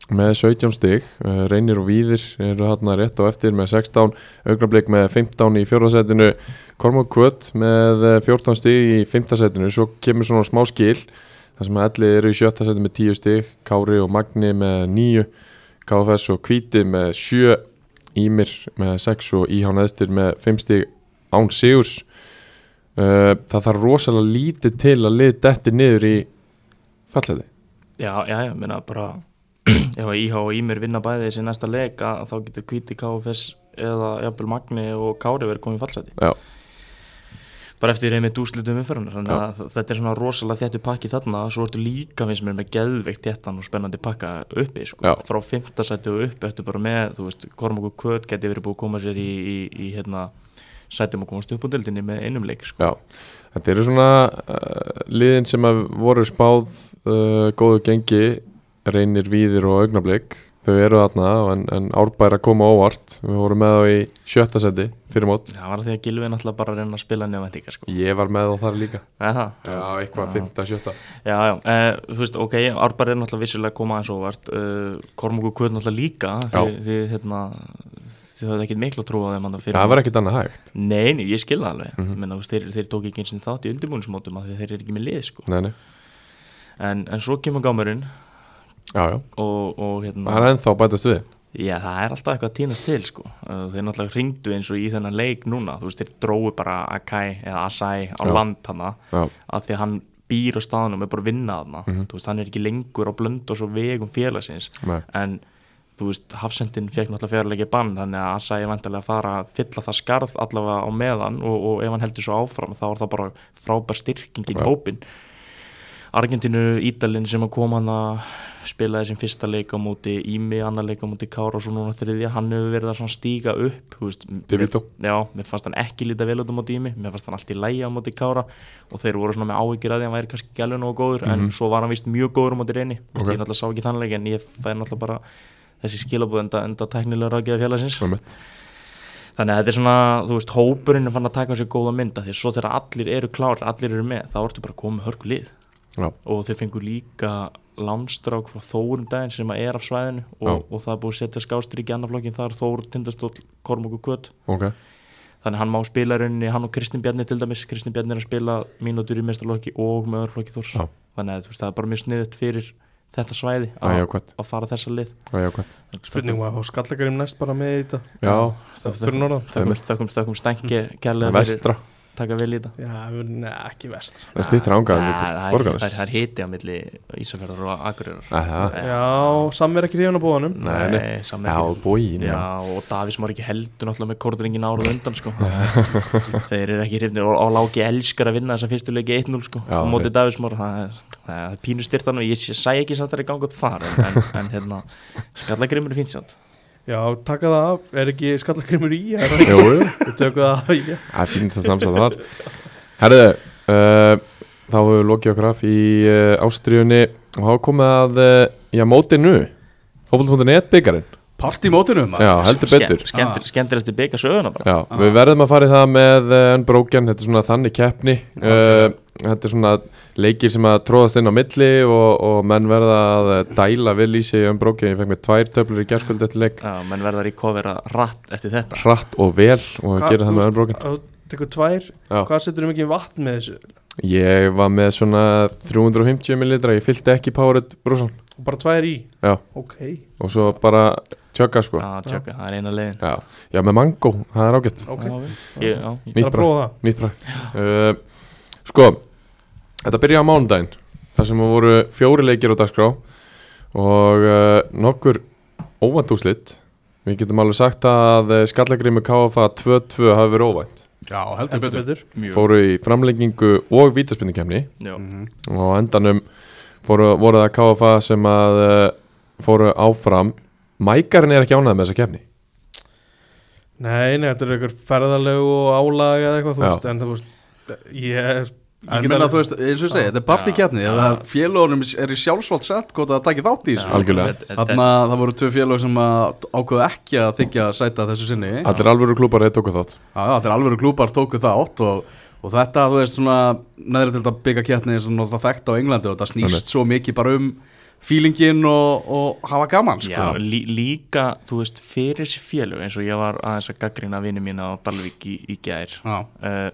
S1: með 17 stig, uh, reynir og víðir eru hérna rétt á eftir með 16 augnablík með 15 í fjórðarsætinu Kormók Kvöt með eh, 14 stig í fimmtarsætinu, svo kemur svona smá skil þar sem að elli eru í sjöttarsætinu með 10 stig, Kári og Magni með 9, KFS og Kvíti með 7, Ímir með 6 og Íhá neðstir með 5 stig án Sigurs Uh, það þarf rosalega lítið til að lið detti niður í falleti
S2: Já, já, já, meina bara Ef að IH og Ímir vinna bæði þessi næsta leik að þá getur Kvíti KFS eða jafnvel Magni og Kári verið komið fallseti
S1: Já,
S2: bara eftir einmitt úslitum umferðunar þannig
S1: Já.
S2: að þ- þetta er svona rosalega þéttu pakki þarna og svo ertu líka finnst mér með geðveikt þéttan og spennandi pakka uppi
S1: Já.
S2: sko. frá fimmtasæti og upp ertu bara með þú veist, Kormokur Kvöt geti verið búið að koma sér í, í, í hérna sætum og komast upp á dildinni með einum leik sko.
S1: já Þetta eru svona uh, liðin sem að voru spáð uh, góðu gengi reynir víðir og augnablík þau eru þarna en, en árbæra koma óvart við vorum með þá í sjötta seti fyrir mót
S2: það var því að Gilvi náttúrulega bara að reyna að spila nefn vendinga sko.
S1: Ég var með þá þar líka
S2: Eða það?
S1: Já, eitthvað fymta, sjötta
S2: Já, já, eh, þú veist, ok, Árbar er náttúrulega vissulega að koma aðeins óvart uh, Kormokur Kvöt náttúrulega líka því,
S1: Já.
S2: því hérna þið höfðu ekkert miklu að trúa þeim þarna fyrir
S1: Það var Mhm. ekkit annað hægt
S2: Nei, nei, ég skilða alveg mm -hmm. Menna, þú veist, þeir, þeir tók ekki eins og þátt í undirbúinsmótum af því að þeir eru ekki með lið sko.
S1: Nei, nei,
S2: en, en svo kemur gámurinn
S1: já, já
S2: og, og hérna
S1: Það er ennþá að bætast við
S2: Já, það er alltaf eitthvað að týnast til sko. Uh, þeir náttúrulega hringdu eins og í þennan leik núna þú veist, þeir dróu bara Akai eða Asai á
S1: Já.
S2: land hana
S1: Já,
S2: af því að hann býr á staðanum er bara að vinna hana þú veist, hann er ekki lengur á blönd og svo vegum félagsins
S1: nei,
S2: en þú veist, Hafsendin fekk náttúrulega fjárleiki bann þannig að Assa er vantilega að fara að fylla það skarð allavega á meðan og, og ef hann heldur svo áfram þá er það bara frábær styrkingin
S1: Já.
S2: í hópin Argentínu Ídalinn sem að koma hann að spila þessum fyrsta leik á móti Ími, annar leik á móti Kára og svo núna þriðja, hann hefur verið að svona stíga upp þú veist,
S1: De Vito.
S2: já, mér fannst hann ekki líta vel út á móti Ími, mér fannst hann allt í lægi á móti Kára og þeir voru svona með áhyggjur að því að hann væri kannski ekki alveg nógu góður en svo var hann vist mjög góður á móti reyni okay. ég náttúrulega sá ekki þannleik en ég fæði náttúrulega bara þessi skilabúð enda, enda teknilega ráðgeða félagsins
S1: það er mitt
S2: þannig að þetta er svona, þú veist, hópurinn er fann að taka sér góða mynda því að svo þegar allir eru klárir, allir eru með, þá ertu bara að koma með hörku lið
S1: Já,
S2: og þeir fengu líka lánstrák frá Þórum daginn sem að er af svæðinu og, og það er búið að setja skástrík í annar flokkin þar, Þór, Tindastóll, Kormok og Kött
S1: ok
S2: þannig að hann má spila í rauninni, hann og Kristinn Bjarni til dæmis, Kristinn Bjarni er að spila mínútur í mestarlokki og með öðruflokki Þórs
S1: Já.
S2: þannig að þú veist, það er bara mjög sniðut fyrir þetta svæði
S1: Það er
S2: að,
S1: jákvætt,
S2: að fara þessa lið
S1: það er jákvætt
S3: spurning var og skallakarim næst bara með í þetta
S1: Já,
S2: Þökkum-
S3: fyrir norðan
S2: Þökkum, þökkum, þökkum stænki kærlega fyrir
S1: Mm. vestra
S2: taka vel í þetta
S3: Já, við- neða, ekki vest
S1: Það stýttir ángað
S2: Nei, það er-
S1: Borgarnes
S2: það er- það er hiti á milli Ísafjörðar og Akureyrar
S1: Nei, það-
S3: Já, Sam er ekki hrifin á bóðanum
S1: Nei, nei.
S2: saman
S1: Já,
S2: ekki
S1: bóin
S2: Já, og Davís maður ekki heldur náttúrulega með kortringin árað undan sko. þeir eru ekki hrifnir og, og lági elskar að vinna þessa fyrstu leiki 1-0 sko,
S1: Já,
S2: á móti
S1: rétt.
S2: Davís maður það er, það er pínu styrtan og ég sé- sæ ekki samstæri ganga upp þar en, en, en hérna, skallagrimur er fínt samt
S3: Já, taka það af, er ekki skallakrimur í er það?
S1: Jú, jú.
S3: Við tökum það af í
S1: það er fínst að samsæða þar Herðu, uh, þá hefur við lokið okkur af í uh, Ástriðunni og þá er komið að uh, já, mótinu fókbalt.net byggarinn,
S4: Part í mótinu maður
S1: já, heldur betur
S2: Ske- skemmtil- Skemmtilegasti byggar söguna bara
S1: Já, við verðum að fara í það með uh, Unbroken, þetta er svona þannig keppni uh, Þetta er svona leikir sem að tróðast inn á milli og, og menn verða að eh, dæla vel í sig í Unbroken, ég fekk mér tvær töflur í gerskvöld eftir leik,
S2: Já, menn verða að recovera rætt eftir þetta
S1: hratt og vel og
S3: Hvað-
S1: gera
S3: þú
S1: það með
S3: veist,
S1: Unbroken
S3: að Þú tekur tvær,
S1: Já.
S3: hvað setur þú mikið vatn með þessu
S1: Ég var með svona 350 millilitra, ég fyllti ekki Powerade brúsan
S3: og bara tvær í
S1: Já,
S3: ok,
S1: og svo bara tjögga sko
S2: Já, tjöka, það er eina leiðin
S1: Já, já með mango, það er ágætt
S3: ok,
S2: Já, Ég- já, ég-
S3: það er
S1: Nýtt
S3: að prófa
S1: bragð,
S3: það
S1: nýtt bragð uh, Sko, þetta byrja á mánudaginn þar sem voru fjóri leikir á dagskrá og uh, nokkur óvænt úslit Við getum alveg sagt að eh, skallagrimur KFA 2-2 hafi verið óvænt
S4: Já,
S3: heldur
S4: heldur betur
S3: betur,
S2: mjög
S1: Fóru í framlengingu og vítaspinningkemni
S2: Já,
S1: og á endanum fóru, voru það KFA sem að uh, fóru áfram Mækarinn er ekki ánægð með þessa kefni
S3: nei, nei, þetta er eitthvað ferðalegu og álag eða eitthvað, þú
S1: Já.
S3: veist, en þú veist ég, ég
S4: En minna þú veist, eins og ég segi, þetta er part í kjarni Félagunum er í sjálfsvalt sett hvort að það taki þátt í
S2: já,
S4: þessu
S1: Algjörlega.
S2: þetta-
S4: Þannig að það voru tvö félag sem að ákveða ekki að þykja sæta þessu sinni Já,
S1: Allir alvöru klúpar þetta okkur þátt
S4: já, þeir alvöru klúpar tóku það átt og, og þetta, þú veist, svona neðri til að bygga kjarni sem það þekkt á Englandi og það snýst svo mikið bara um fílingin og, og hafa gaman sko.
S2: Já, lí, líka, þú veist, fyrir þessi félög eins og ég var aðeins að gaggrina vini mína á Dalvík í, í gær
S4: Já.
S2: uh,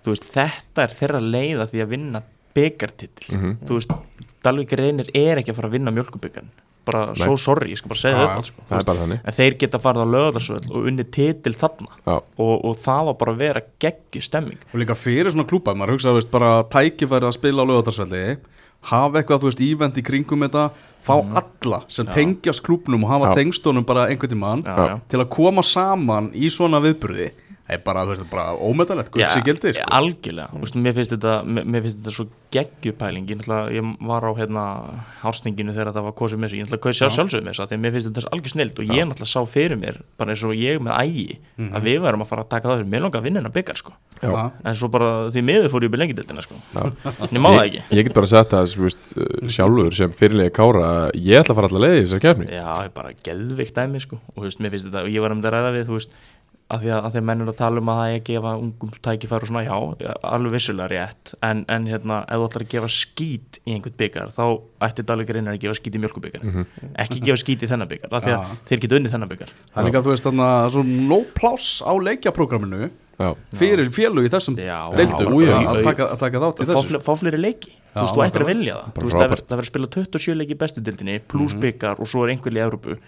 S2: þú veist, þetta er þeirra leiða því að vinna byggartitil
S1: Mhm.
S2: þú veist, Dalvík reynir er ekki að fara að vinna mjölkubyggarn bara
S1: Nei.
S2: so sorry, ég skal bara segja
S4: Já,
S2: þetta
S4: já.
S2: sko. Þú
S1: Það
S2: veist,
S1: er bara þannig
S2: en þeir geta farið á lögðarsöld og unni titil þarna
S1: Já,
S2: og, og það var bara að vera geggju stemming
S4: og líka fyrir svona klúpa, maður hugsa þú veist, bara tækifæri að spila á lögatarsvelli hafa eitthvað, þú veist, ívend í kringum þetta fá
S2: Mhm.
S4: alla sem tengjast klúpnum og
S1: Já.
S4: hafa tengstónum bara einhvern tímann
S2: Já, já.
S4: til að koma saman í svona viðburði það er bara, þú veist, bara ómetanlegt gull sér gildi,
S2: ja,
S4: sko.
S2: algjörlega, mm. Vistu, mér, finnst þetta, mér, mér finnst þetta svo geggjupæling ég, náttúrulega- ég var á hérna hárstinginu þegar þetta var kosið með þessu, ég náttúrulega kaus sjálf sjálfsögum með þessu af því að mér finnst þetta algjör snilt og ég náttúrulega sá fyrir mér, bara eins og ég með ægi
S1: Mhm.
S2: að við værum að fara að taka það fyrir mér langa að vinna hennar byggar sko,
S1: já.
S4: Já.
S2: en svo bara því miður fór ég upp í lengindildina sko,
S1: Já.
S2: en ég má það
S1: Ég-
S2: ekki
S1: Ég get bara sagt það þú veist, uh, sjálfur sem fyrirlega kára Ég ætla að fara allar leiði í þessar kefni
S2: Já, ég er bara geðvikt dæmi sko og þú veist, mér finnst þetta, og ég var um þetta að ræða við þú veist, að því að, að því að menn eru að tala um að það eigi að gefa ungum tækifæri og svona, já alveg vissulega rétt, en, en hérna ef þú ætlar að gefa skít í einhvern byggar þá ætti Dalík reynir að gefa skít í mjölkubyggar ekki gefa skít í þennan byggar af því að
S4: Já.
S2: þeir geta unnið þennan byggar
S4: það er líka, þú veist, þannig að það er svo no pláss á leikjaprógraminu
S1: Já,
S4: fyrir félug í þessum
S2: Já,
S4: deildum
S1: já,
S4: að,
S1: já.
S4: að, taka- að taka þátt í
S2: fá,
S4: þessu
S2: fle fá fleiri leiki þú veist, þú ættir að vilja það
S1: Bara
S2: Þú veist, það
S1: frábært. Mhm.
S2: verður það verður að spila 27 leiki í bestu dildinni pluss byggar og svo er einhverju í Evrópu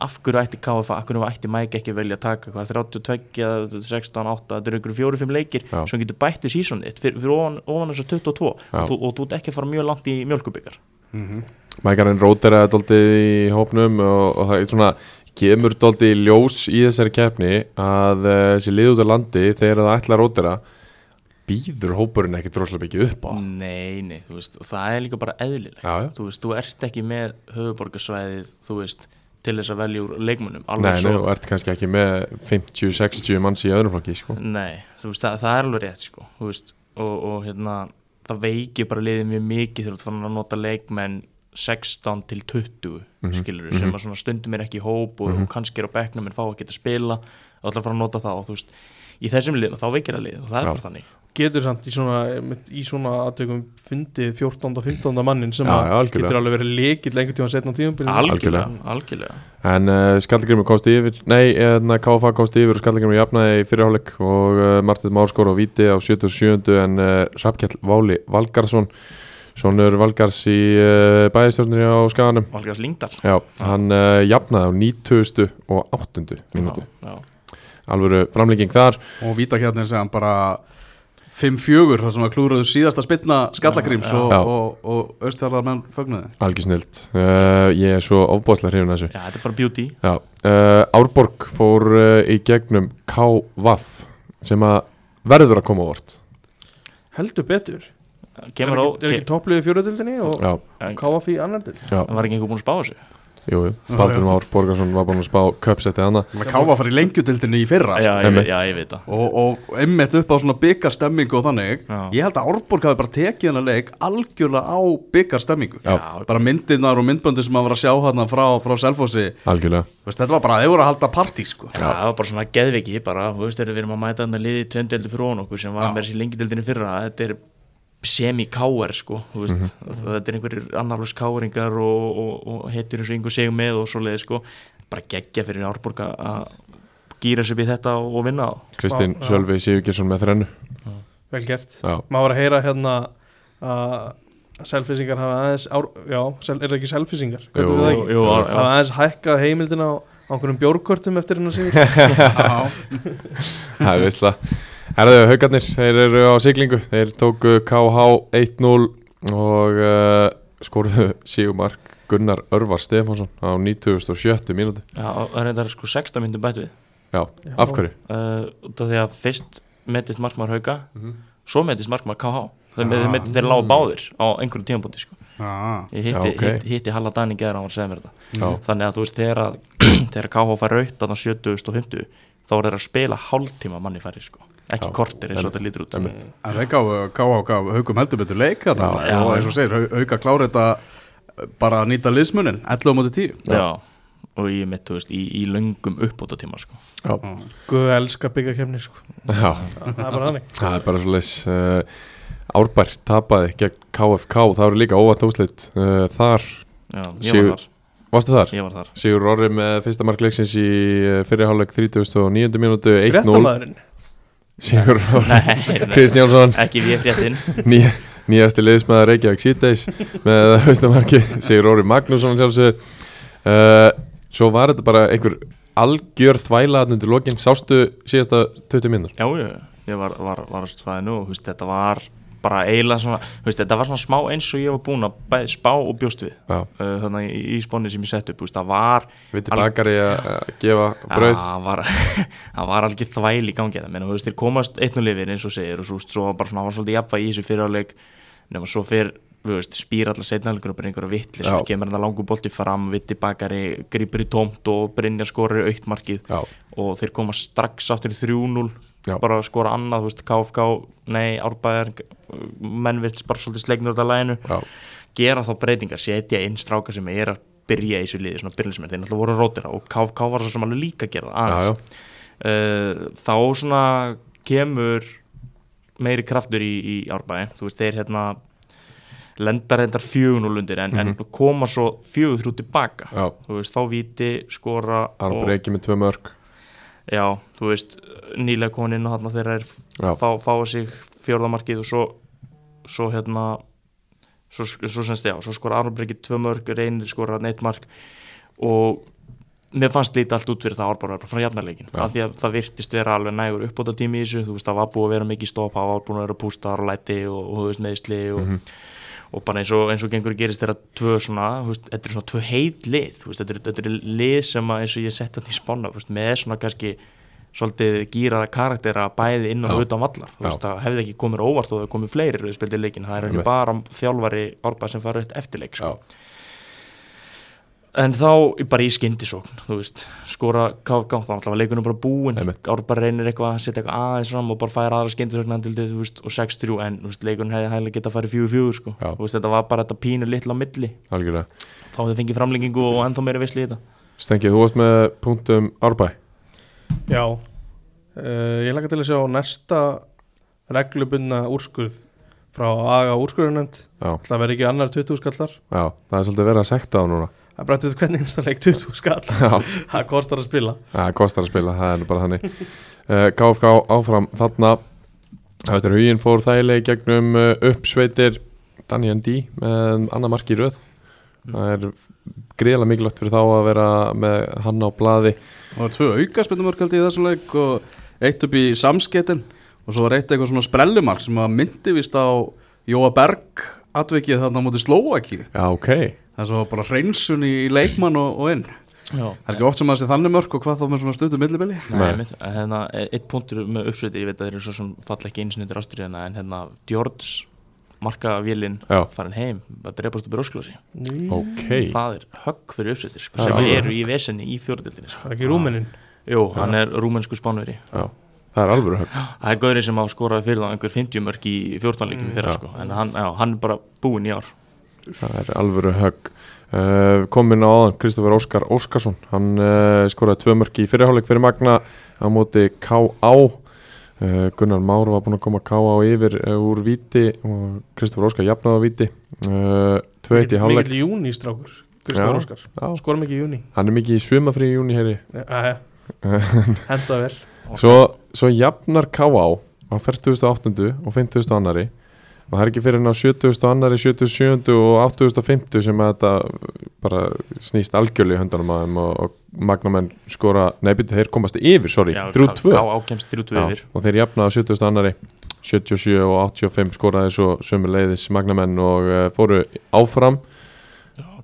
S2: af hverju ætti KFA, af hverju ætti Mike ekki velja að taka hvað, 32, 16, 8 þetta eru einhverju 4-5 leikir
S1: Já.
S2: sem getur bættið sísonið þitt fyrir, fyrir ofan, ofan þessu 22
S1: Já.
S2: og þú, og þú ert ekki að fara mjög langt í mjölkubyggar
S1: mækarinn róteraði dóldi í hópnum og, og það er svona kemur dóldi í ljós í þessari kefni að eh, þessi lið út af landi þegar það ætla að rótera býður hópurinn ekki droslega mikið upp á
S2: Nei, nei, þú veist, og það er líka bara eðlilegt
S1: Já, já.
S2: Þú veist, þú ert ekki með höfuborgarsvæðið, þú veist, til þess að velja úr leikmunum alveg
S1: Nei,
S2: svo-
S1: nei, þú ert kannski ekki með 50-60 manns í öðrum flokki sko.
S2: Nei, þú veist, það, það er alveg rétt sko, þú veist, og, og hérna það veikir bara liðið mjög mikið þegar þú fann að nota leikmenn 16 til 20 mm
S1: Mhm,
S2: skilur sem að svona stundum er ekki í hóp og, og kannski er á bekknum en fá að geta spila og ætla að fara að nota það og þú veist í þessum liðum þá veikir það liðið og það er
S1: Já.
S2: bara þannig
S3: getur samt í svona, einmitt í svona aðtökum fundið 14. og 15. mannin sem
S1: Já,
S3: að
S1: já, algjörlega.
S3: getur alveg verið lekill lengur tíma setna á tíðumbyrjum
S2: algjörlega,
S1: Algjörlega.
S2: algjörlega.
S1: En uh, Skallagrimur komst yfir Nei, hérna, eðna, KFA komst yfir og Skallagrimur jafnaði í fyrirháleik og uh, Martið Márskór og Víti á 77. en uh, Rappkjall Váli Valgarsson Sónur Valgars í uh, bæðistjörnir á skaganum
S2: Valgars Lingdal
S1: Já, hann uh, jafnaði á 90. og 8. mínútu
S2: Já, já.
S1: Alvöru framlenging þar
S4: og víta hérna sem bara 5-4 þar sem að klúraðu síðasta spilna skallagrýms og,
S1: Já.
S4: og, og austfjörðarmenn fögnuði
S1: Algisnild uh, Ég er svo ofbóðslega hrifin að þessu
S2: já, þetta er bara beauty
S1: Já, uh, Árborg fór uh, í gegnum K.Vaff sem að verður að koma á vort
S3: heldur betur
S2: Kemur
S3: er
S2: á,
S3: ekki, er ekki toppliðið fjóruðildinni og
S1: Já,
S2: En-
S3: KF í annar dild
S1: já
S2: en var ekki einhver búin að spá þessu?
S1: Jú, jú, Baldur Már Borgarsson var búin að spá köpsettið hana
S4: Þannig að káfa að fara í lengjutildinni í fyrra
S2: já,
S4: sko.
S2: ég,
S1: einmitt.
S2: veit- já, ég veit það
S4: Hérna og, og einmitt upp á svona byggastemmingu og þannig
S2: Já.
S4: Ég held að Árborg hafi bara tekið hennar leik algjörlega á byggastemmingu
S1: Já.
S4: Bara myndirnar og myndböndin sem maður var að sjá hérna frá, frá Selfossi
S1: Algjörlega
S4: Þú veist, Þetta var bara, þeir voru að halda partí sko
S2: Já, það var bara svona geðviki bara, þú veist, þegar við erum að mæta hann að liði tveimdeldi fyrir ón okkur sem var með þessi lengjudildinu fyrra, þetta er semi-káer sko, þú veist,
S1: Mhm.
S2: þetta er einhverjir annarlaus káeringar og, og, og heitur eins og yngur segjum með og svoleiði sko, bara geggja fyrir Árborg að- að gýra sér við þetta og, og vinna á.
S1: Kristinn
S3: Já, já.
S1: Sjölvi Sigurgesson með þrennu
S3: vel gert
S1: Já,
S3: maður var að heyra hérna að selfisingar hafa aðeins ár, já, sel, er það ekki selfisingar?
S1: Jú,
S3: Köllum við það ekki?
S2: jú, já.
S3: hafa aðeins hækkað heimildina á, á einhverjum bjórkortum eftir hennar sigur
S1: það er veistla Herðu, haugarnir, þeir eru á siglingu Þeir tóku KH 1-0 og uh, skoruðu Sigumark Gunnar Örvar Stefánsson á 97. mínúti
S2: Já, og það er reyndar sko 16 myndum bætt við,
S1: Já,
S3: Já.
S1: af hverju?
S2: uh, út af því að fyrst metist markmaður hauka,
S1: Mhm.
S2: svo metist markmaður KH, þeir,
S1: Ah.
S2: þeir, þeir, þeir lágu báðir á einhverjum tímapunkti sko.
S4: Já,
S2: Ég
S1: Já,
S2: hitti,
S1: ok.
S2: hitti, hitti Halla Dani geðar á hann að segja mér þetta.
S1: Já,
S3: Mm.
S2: þannig að þú veist þegar, að, þegar KH fær raut þannig að 70 og 50 þá er þeir að spila hálftíma manni færi sko. ekki
S1: Já,
S2: kortir eins og
S1: einmitt,
S2: þetta lítur út Mm.
S1: einmitt.
S4: En þeir gáðu káa og gáðu haugum heldur betur leik
S2: Já,
S4: þarna
S2: já.
S4: og eins og segir, Hau- hauka klára þetta eh, bara að nýta liðsmunin 11 á móti 10
S2: já. og ég mitt þú veist í, í löngum uppbóta tíma sko.
S1: já,
S3: Guð elskar byggakefni sko
S1: já
S3: það er bara þannig
S1: Það er bara svo leis uh, Árbær tapaði gegn KFK Það eru líka óvænt úslit uh, Þar,
S2: já, ég,
S1: Sigur-
S2: var þar,
S1: varstu þar?
S2: ég var þar
S1: Sigur Orri með fyrsta markleiksins í eh, fyrirháleik 39. mínútu 1-0
S3: Fréttamaðurinn
S1: Sigur Orri
S2: nei, nei,
S1: Kristjánsson
S2: ekki við fréttin
S1: nýja, nýjasti liðsmaður Reykjavík síðdeis með fyrsta marki Sigur Orri Magnússon að sjálfsögðu uh, Svo var þetta bara einhver algjör þvæla þarna undir lokin sástu síðasta 20 mínútur
S2: já, já, ég var, var, var á svæðinu og þú veist, þetta var bara eiginlega svona, þú veist, þetta var svona smá eins og ég var búin að bæði spá og bjóst við
S1: Já,
S2: uh, þannig í, í spónni sem ég sett upp þú veist, það var
S1: viti
S2: Al-
S1: bakari að að gefa brauð
S2: það var, það var algjör þvæl í gangi það, menn, þú veist, þeir komast einn og lifir eins og segir og svo, svo var bara svona, það var svolítið jafnvæg í þessu fyriráleik, nema svo fyrr þú veist, spýr allar setnaðalgur og bara einhverja vittlis
S1: Já.
S2: og kemur hann að langu bolti fram, vitti bakari grýpur í tómt og Brynjar skorir aukt markið
S1: Já,
S2: og þeir koma strax aftur í 3-0
S1: Já.
S2: bara að skora annað, þú veist, KFK nei, Árbæðar, menn vill bara svolítið slegnur út af læginu
S1: já,
S2: gera þá breytingar, setja inn stráka sem er að byrja í þessu liði, svona byrjlismenn þeir náttúrulega voru rótira og KFK var svo sem alveg líka að gera það
S1: já, já.
S2: aðeins Uh, þá svona kemur meiri kraftur í, í árbæði, þú veist, þeir hérna lendar reyndar fjögun og lundir en,
S1: Mhm.
S2: en koma svo fjögur þrjú tilbaka
S1: já.
S2: þú veist, þá viti, skora
S1: Aron
S2: og,
S1: Breki með tvö mörg
S2: já, þú veist, nýlega komin inn og þarna þeirra er
S1: Já,
S2: fá, fá sig fjórðamarkið og svo svo hérna svo, svo semst já, svo skora Aron Breki tvö mörg, reynir skora neitt mark og mér fannst lítið allt út fyrir það árbara bara frá jafnarleikin
S1: Já.
S2: af því að það virtist vera alveg nægur uppbóta tími í þessu, þú veist það var búið að vera mikið stopp það var búið að vera pústar og læti og, og þú veist meðisli og,
S1: Mhm.
S2: og bara eins og, eins og gengur gerist þeirra tvö svona þú veist, þetta er svona tvö heit lið þú veist, þetta, er, þetta er lið sem að eins og ég sett þetta í spanna veist, með svona kannski svolítið gýraða karaktera bæði inn og
S1: Já.
S2: utan vallar Þú
S1: Já.
S2: veist, það hefði ekki komið óvart og það komið fleiri rauðspildi leikin, það er henni
S1: Einmitt.
S2: bara þjálfari árbæð sem fara upp eftirleik sko.
S1: já,
S2: en þá bara í skyndisókn þú veist, skora KFG þá náttúrulega var leikunum bara búinn,
S1: Einmitt.
S2: árbæð reynir eitthvað að setja eitthvað aðeins fram og bara færa aðra skyndisókn andildið, þú veist, og 6-3 en þú veist, leikunum hefði hæglega getað að færi 4-4 sko.
S1: Já.
S2: Þú veist, þetta var bara þetta pínu litla á milli
S1: algjörlega
S2: þá hefði fengið framlengingu og ennþá meira visli í þetta
S1: Stengið, þú varst með punktum Árbæ
S3: Já, uh, ég lakka til að sjá næsta reglubunna úrskurð frá aga úrskurðunend
S1: Já,
S3: Það verður ekki annar 20 skallar
S1: já, það er svolítið verið að sekta á núna
S3: Það er bara til hvernig einasta leik 20 skall
S1: Já,
S3: Það kostar að spila
S1: það kostar að spila, það er nú bara þannig uh, KFK áfram þarna Þetta er huginn fór þægileg gegnum uh, uppsveitir Daniel D með annað mark í röð Það er greiðlega mikilvægt fyrir þá að vera með hann á blaði
S4: Það var tvö auka spilnumörkaldi í þessum leik og eitt upp í samskettin og svo var eitt eitthvað svona sprellumark sem að myndi vist á Jóa Berg atvikið þarna á móti Slóaki
S1: Já, ok,
S4: það svo var bara hreinsun í leikmann og, og inn það
S2: Já.
S4: er ekki oft sem að það sé þannig mörk og hvað þá með svona stuttum millibili
S2: Nei,
S1: Nei.
S2: Nei. Mitt, hérna, eitt punktur með uppsveitir, ég veit að þeir eru svo sem falla ekki eins og nýttir ástriðina en hérna Djords marka vélinn
S1: Já.
S2: farin heim að drepast upp í rósklasi
S3: Ný.
S1: ok
S2: það er högg fyrir uppsettir sko,
S1: Það er
S2: sem
S1: alveg
S2: eru í vesenni í fjórdildinni sko.
S3: Það er ekki rúmeninn
S2: Jú, hann er rúmensku spánveri
S1: Já, það er alvöru högg
S2: það er gaurið sem á skoraði fyrir þá einhver 50 mörg í 14 leikum í fyrra
S1: Já.
S2: sko. en hann, já, hann er bara búinn í ár
S1: Það er alvöru högg uh, Komin á áðan Kristoffer Óskar Óskarsson Hann uh, skoraði tvö mörki í fyrirháleik fyrir Magna á móti K.A. Uh, Gunnar Már var búinn að koma K.A. yfir uh, úr viti og Kristoffer Óskar jafnaði á viti uh, 2-1 í háleik
S3: Mikill júni strákur
S1: Já.
S3: Kristofur Óskar
S1: Já,
S3: Skorum ekki í júni
S1: Hann er mikið í svömafri í júni heyri
S3: Henda vel
S1: Svo, svo jafnar K.A. á 48. og 50. annari og það er ekki fyrir hann á 70. annari, 77. og 850 sem að þetta bara snýst algjörlega í höndanum að þeim og, og magnamenn skora, nei byrju, þeir komast yfir, sorry,
S2: Já, Ká
S1: 3-2
S2: ákemst 3-2
S1: Já,
S2: yfir
S1: og þeir jafnaði á 70. annari 77 og 85 skoraði svo sömu leiðis magnamenn og uh, fóru áfram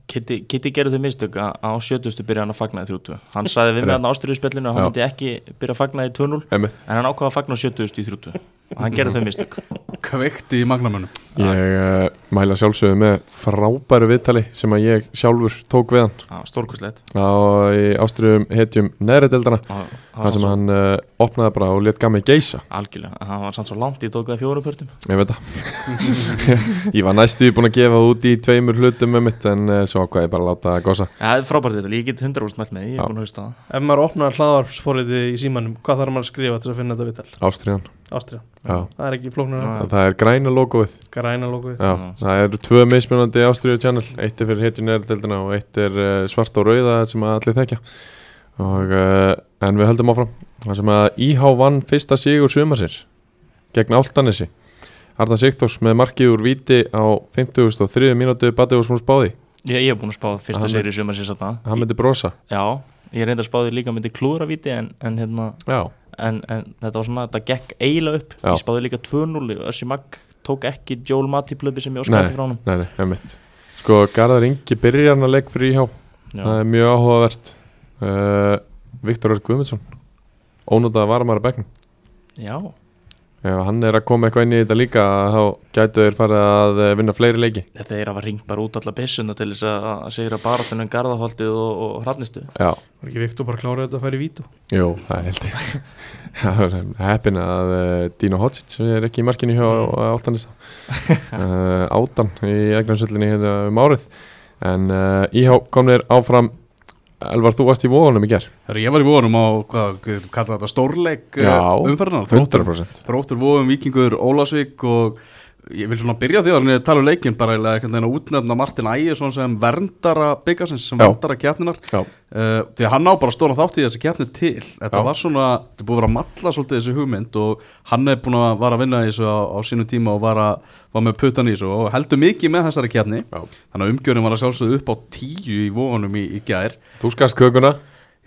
S2: Kitty, Kitty gerði þau mistök að á 70. byrja hann að fagna í 3-2 hann sagði við með
S1: Rétt.
S2: hann ástriðspillinu að
S1: Já.
S2: hann myndi ekki byrja að fagna í 2-0
S1: Einmitt.
S2: en hann ákvaða að fagna á 70. í 3-2 og hann gerði þau mistök
S4: kveikt í magnamönnum
S1: ég uh, mæla sjálfsögðu með frábæru viðtali sem að ég sjálfur tók við hann
S2: stórkustlegt
S1: á í ástriðum hetjum neðri deildana þar sem
S2: algjörlega,
S1: hann uh, opnaði bara og let gamið geisa
S2: en hann var sann svo langt í tókaði fjórum pörtum
S1: ég veit það ég var næstu búin að gefa það út í tveimur hlutum með mitt en uh, svo ákvað ég bara að láta það gosa
S2: ja, það er frábært þetta, ég get 100% mælt með því, ég
S1: Já.
S2: er búin að hausta það
S3: Ef maður opnar hlaðvarpsforriði í símanum Hvað þarf maður að skrifa til að finna þetta viðtal?
S1: ástriðan
S3: Ástriða
S1: já.
S3: Það er ekki flóknur
S2: Já.
S3: að
S1: það er græna logoið
S3: græna lókuð
S1: já.
S2: Já.
S1: það eru tvö mismunandi ástriðu channel eitt er fyrir hetjum neðri deildana og eitt er uh, svart og rauða sem að allir þekja og, uh, en við höldum áfram þar sem að IH vann fyrsta sigur sumarsins gegn Áltanesi Arna Sigþórs með markið úr víti á 53. mínútu Batiðurs múl spáði
S2: ég, ég er búin að spá fyrsta
S1: Hann-
S2: seri sumar sér satna
S1: hann myndi brosa
S2: já, ég reyndar spáði líka myndi klúra viti en, en, hérna,
S1: já,
S2: en, en þetta var svona, þetta gekk eiginlega upp
S1: Já.
S2: ég spáði líka 2-0 og Össi Magg tók ekki Joel Matip löpi sem ég
S1: Nei.
S2: óskætti frá honum
S1: nei, nei, emmitt sko, Garðar Ingi byrjar hann að leik fyrir íhá það
S2: já,
S1: er mjög áhugavert uh, Viktor Örg Guðmundsson ónútað varamæra begnum
S2: já.
S1: ef hann er að koma eitthvað inn í þetta líka þá gætu þeir farið að eh, vinna fleiri leiki
S2: Þetta er að var ringt bara út alla byssuna til þess að að sigra baratunum Garðaholtið og, og Hrafnistu.
S1: já,
S3: Var ekki Viktor bara klárið þetta að færi vítu?
S1: jú, það held ég það er heppin að uh, Dino Hotsic er ekki í markinu hjá Áltanista uh, Átan í egnansöllinni hérna um árið en uh, íhá komnir áfram Elvar, þú varst í vóðunum í ger
S4: Herra, ég var í vonum á, hvað, hvað kalla þetta stórleik eh,
S1: Já,
S4: umferðanar
S1: 100%
S4: Þróttur Vóum, Víkingur, Ólásvík og ég vil svona byrja á því að hann tala um leikinn bara eiginlega einhvern veginn að útnefna Martin Ægjesson sem verndara byggasins, sem
S1: Já.
S4: verndara keppninar
S1: Já.
S4: uh, því að hann á bara stóran þátt í þessi keppni til þetta
S1: Já.
S4: var svona, þetta er búið að vera að matla svolítið þessi hugmynd og hann er búin að var að vinna í þessu á, á sínu tíma og var, að, var með putan í þessu og heldur mikið með þessari keppni
S1: Já.
S4: þannig að umgjörnum var að sjálfsögðu upp á tíu í vóanum í, í gær
S1: Þú skast kökuna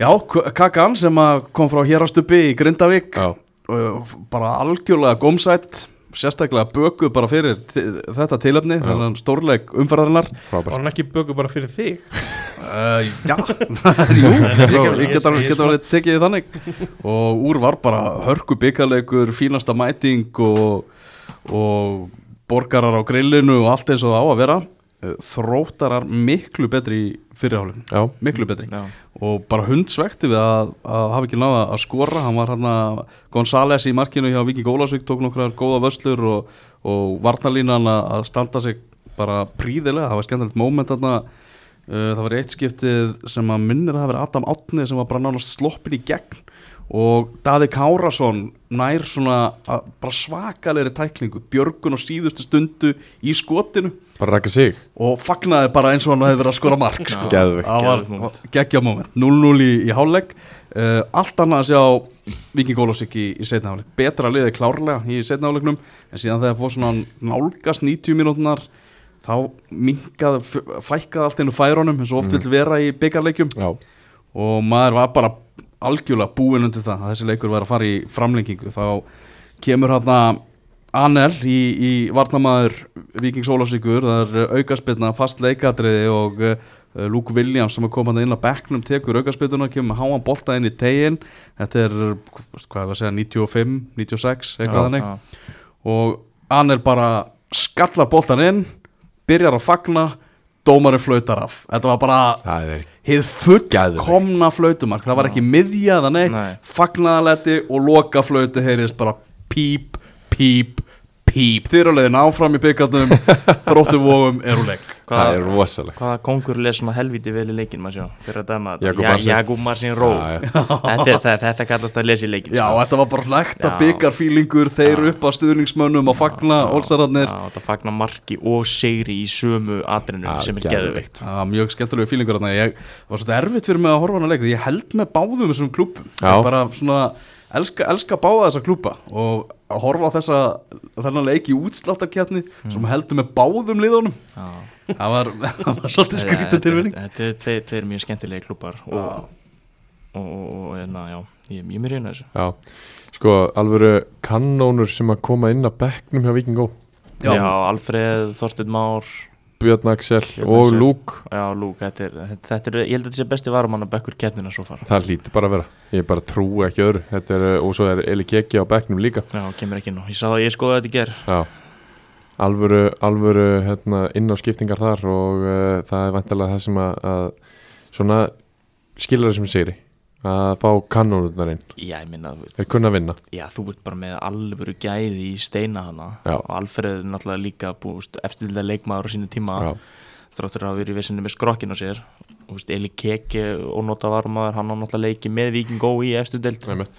S4: Já, K- Kakan sem að kom frá Hérastubbi í Grindavík
S1: Já.
S4: uh, f- bara algjörlega gómsætt sérstaklega bökuð bara fyrir ti- þetta tilöfni, þessan stórleik umferðarinnar
S3: Var
S1: Frábært
S3: hann ekki bökuð bara fyrir þig?
S4: uh, Já, jú, ég get- ég get alveg- get alveg tekið því þannig og úr var bara hörku byggarleikur fínasta mæting og, og borgarar á grillinu og allt eins og það á að vera Uh, þróttarar miklu betri fyrirhálum
S1: Já,
S4: miklu betri
S2: Já.
S4: og bara hundsvekti við að, að hafa ekki náða að skora hann var hann að González í markinu hjá Viki Gólasvík tók nokkrar góða vöslur og, og varnalínan að að standa sig bara príðilega, það var skemmtilegt moment þarna Uh, það var eitt skiptið sem að minnir að hafa verið Adam Átni sem var bara nánast sloppin í gegn og Daði Kárasson nær svona að, bara svakalegri tæklingu, björgun á síðustu stundu í skotinu
S1: bara rakka sig
S4: og fagnaði bara eins og hann hefði verið að skora mark sko.
S1: Geðvegt
S2: Geðveikt
S4: Það var
S2: moment.
S4: geggja moment 0-0 í, í hálfleik uh, Allt annað að sjá Viking Ólafsvík í, í setna hálfleik Betra liðið klárlega í setna hálfleiknum En síðan þegar fór svona nálgast 90 mínútunar Þá minkaði, f- fækkaði allt einu færunum eins
S2: Mhm.
S4: og oft vill vera í byggarleikjum
S1: Já,
S4: og maður var bara algjörlega búinn undir það að þessi leikur var að fara í framlengingu þá kemur hérna Anel í, í varnamaður Víkings Ólafsvíkur, það er aukaspilna fast leikatriði og uh, Luke Williams sem er komað inn á bekknum tekur aukaspiluna, kemur með háan bolta inn í tegin þetta er, hvað er það að segja 95, 96, eitthvað
S2: Já,
S4: þannig
S2: já.
S4: og hann er bara skallar boltan inn byrjar að fagna, dómarinn flautar af þetta var bara
S1: Það er
S4: hið fullkomna flautumark það var ekki miðja eða neitt
S2: Nei.
S4: fagnaðaleti og loka flautu heyrist bara píp, píp, píp þeir eru leiðin áfram í byggarnum þróttuvofum eru leik
S1: Það
S2: Hvaða
S1: er rosalegt
S2: hvaða kongur les svona helviti vel í leikin maður sjá fyrir að dæma
S1: Jakub
S2: þetta
S1: Marsin.
S2: Ja- Jakub Marsin Ró
S1: Já, já.
S2: þetta, er- það- þetta kallast að lesa í leikin
S4: já,
S2: sko.
S4: þetta var bara lekta
S2: Já.
S4: byggarfílingur þeir upp að stuðningsmönnum að fagna
S2: Já,
S4: ólsararnir
S2: þetta fagna marki og sigri í sömu atrinu
S1: Já,
S2: sem er
S1: geðveikt.
S2: geðveikt
S4: Já, mjög skemmtilegu fílingur þarna Ég það var svolítið erfitt fyrir mig að horfa á hana leik því Ég held með báðum þessum klúbum
S1: Já.
S4: Ég bara svona elska, elska báða þessa klúba Og að horfa á þessa Þennan leik í útsláttarkjarni
S2: Hmm.
S4: Sem heldur með báðum liðunum
S2: Já.
S4: Það var, það var svolítið
S2: Þetta-
S4: skrítið tilvinning
S2: Þetta er tveir, tveir mjög skemmtilegi klúpar og, og, og, og na, já, ég, ég er mér reyna þessu
S1: Já, sko alvöru kannónur sem að koma inn að bekknum hjá Vikingó
S4: Já.
S2: Já, Alfreð, Þorsteinn Már
S1: Björn Axel
S2: Björn
S1: og
S2: Axel.
S1: Lúk
S2: Já, Lúk, þetta er, þetta, þetta er ég held að þetta sé besti varumann að bekkur keppnina svo fara
S1: Það hlýtir bara að vera, ég bara trúi ekki öðru Þetta er, og svo er Eli Kekki á bekknum líka
S2: Já, kemur ekki nú, ég sá það, ég skoði þetta í ger
S1: Já, alvöru, alvöru hérna, inn á skiptingar þar og uh, það er vantilega það sem að, að svona skilur þessum sigri að fá kannónurnar inn
S2: Já, ég minna, þú veist
S1: þeir kunna að vinna
S2: Já, þú ert bara með alvöru gæði í steina hana
S1: Já.
S2: og Alfreð er náttúrulega líka búst eftirlega leikmaður á sínu tíma
S1: Já,
S2: þráttur að hafa verið í vissinni með skrokkin á sér og veist, Eli Keke og nota varumaður hann á náttúrulega leiki með Viking Go í efstu delt
S1: einmitt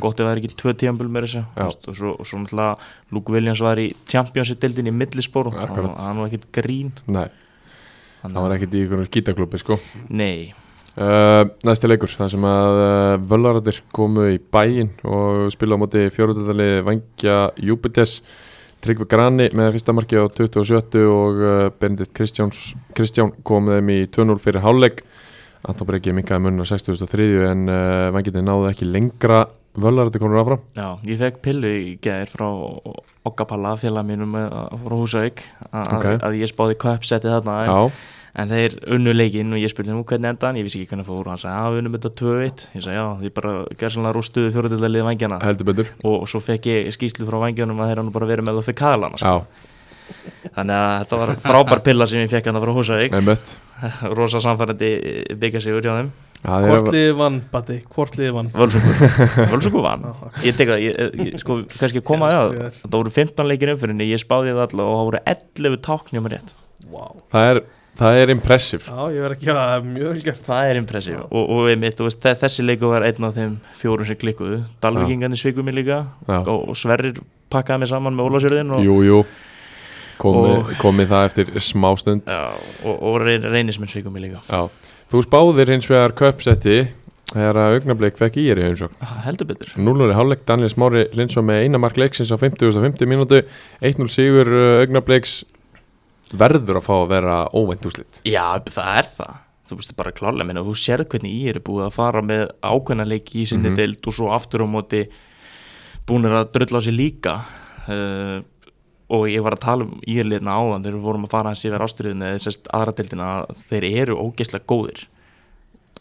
S2: gott ef það er ekki tvö tíambil með þessu
S1: Já.
S2: veist, og, svo, og svo náttúrulega Luke Williams var í Championship deildin í millisporu hann
S1: Akkurat.
S2: hann var ekkit grín
S1: Nei,
S2: hann
S1: það var ekkert í einhvern gítaklubbi sko
S2: nei,
S1: Uh, næsti leikur, það sem að uh, völlaratir komu í bæinn og spila á móti fjórundalegi Vangja Júpites Tryggvi Grani með fyrsta marki á 27 og uh, Benedikt Kristjáns Kristján kom þeim í 2-0 fyrir hálfleik Anton Breki minkaði munna 63 en uh, Vangjandi náði ekki lengra völlaratir konur áfram
S2: já, ég fekk pillu í gæðir frá Okkapalla félag mínum eh, frá Húsavík að,
S1: Ok.
S2: að ég spáði köpsetti þarna en,
S1: Já,
S2: en þeir unnu leikinn og ég spurði nú hvernig enda hann ég vissi ekki hvernig fór og hann sagði að við unnum þetta 2-1 ég sagði já, því bara gerðsannlega rústuðu fjóruðlega vangjana
S1: heldur betur
S2: og, og svo fekk ég skýslu frá vangjónum að þeir hann bara verið með það fyrir kaðalana
S1: Já,
S2: Þannig að þetta var frábær pilla sem ég fekk hann að frá Húsavík
S1: einmitt
S2: Rosa samfærandi byggjasigur hjá þeim
S1: Það er að-
S3: Hvort liðið vann, Batti, hvort liðið vann
S2: Völsungur Völsungur vann Ég tek það, ég, ég, sko, kannski koma að
S3: Ég veist, ég
S2: Þetta voru 15 leikir umfyrinni, ég spáði það alla og það voru 11 tákn hjá mér rétt
S3: wow.
S1: það er, það er impressiv
S3: Já, ég verð ekki að það er mjög vel gert
S2: Það er impressív og, og einmitt, þú veist, þe- þessi leiku var einn af þeim fjórum sem klikkuðu Dalvíkingarnir svikum mér líka
S1: Já.
S2: og, og Sverrir pakkaði mig saman með Ólásjörðin og,
S1: Jú, jú
S2: Og-
S1: Komið komi það eftir smástund
S2: Já, og, og reyn, reynismenn svikum mér líka
S1: Já, þú spáðir hins vegar köpsetti þegar að augnablik fekk í er í heimsókn.
S2: Ah, Heldur betur
S1: 0-0 í hálfleik, Daniel Smári Lindsson með eina mark leiksins á 50.50 mínútu, 1-0 sigur uh, augnabliks verður að fá að vera óvænt úslit.
S2: Já, það er það Þú veist bara klálega, minna, þú sérð hvernig ég er búið að fara með ákveðna leiki í sinni deild og svo aftur á móti búinir að drulla á sig líka uh, og ég var að tala um írliðna áðan þegar við vorum að fara hans yfir ástriðinu eða sérst aðra deildina að þeir eru ógeðslega góðir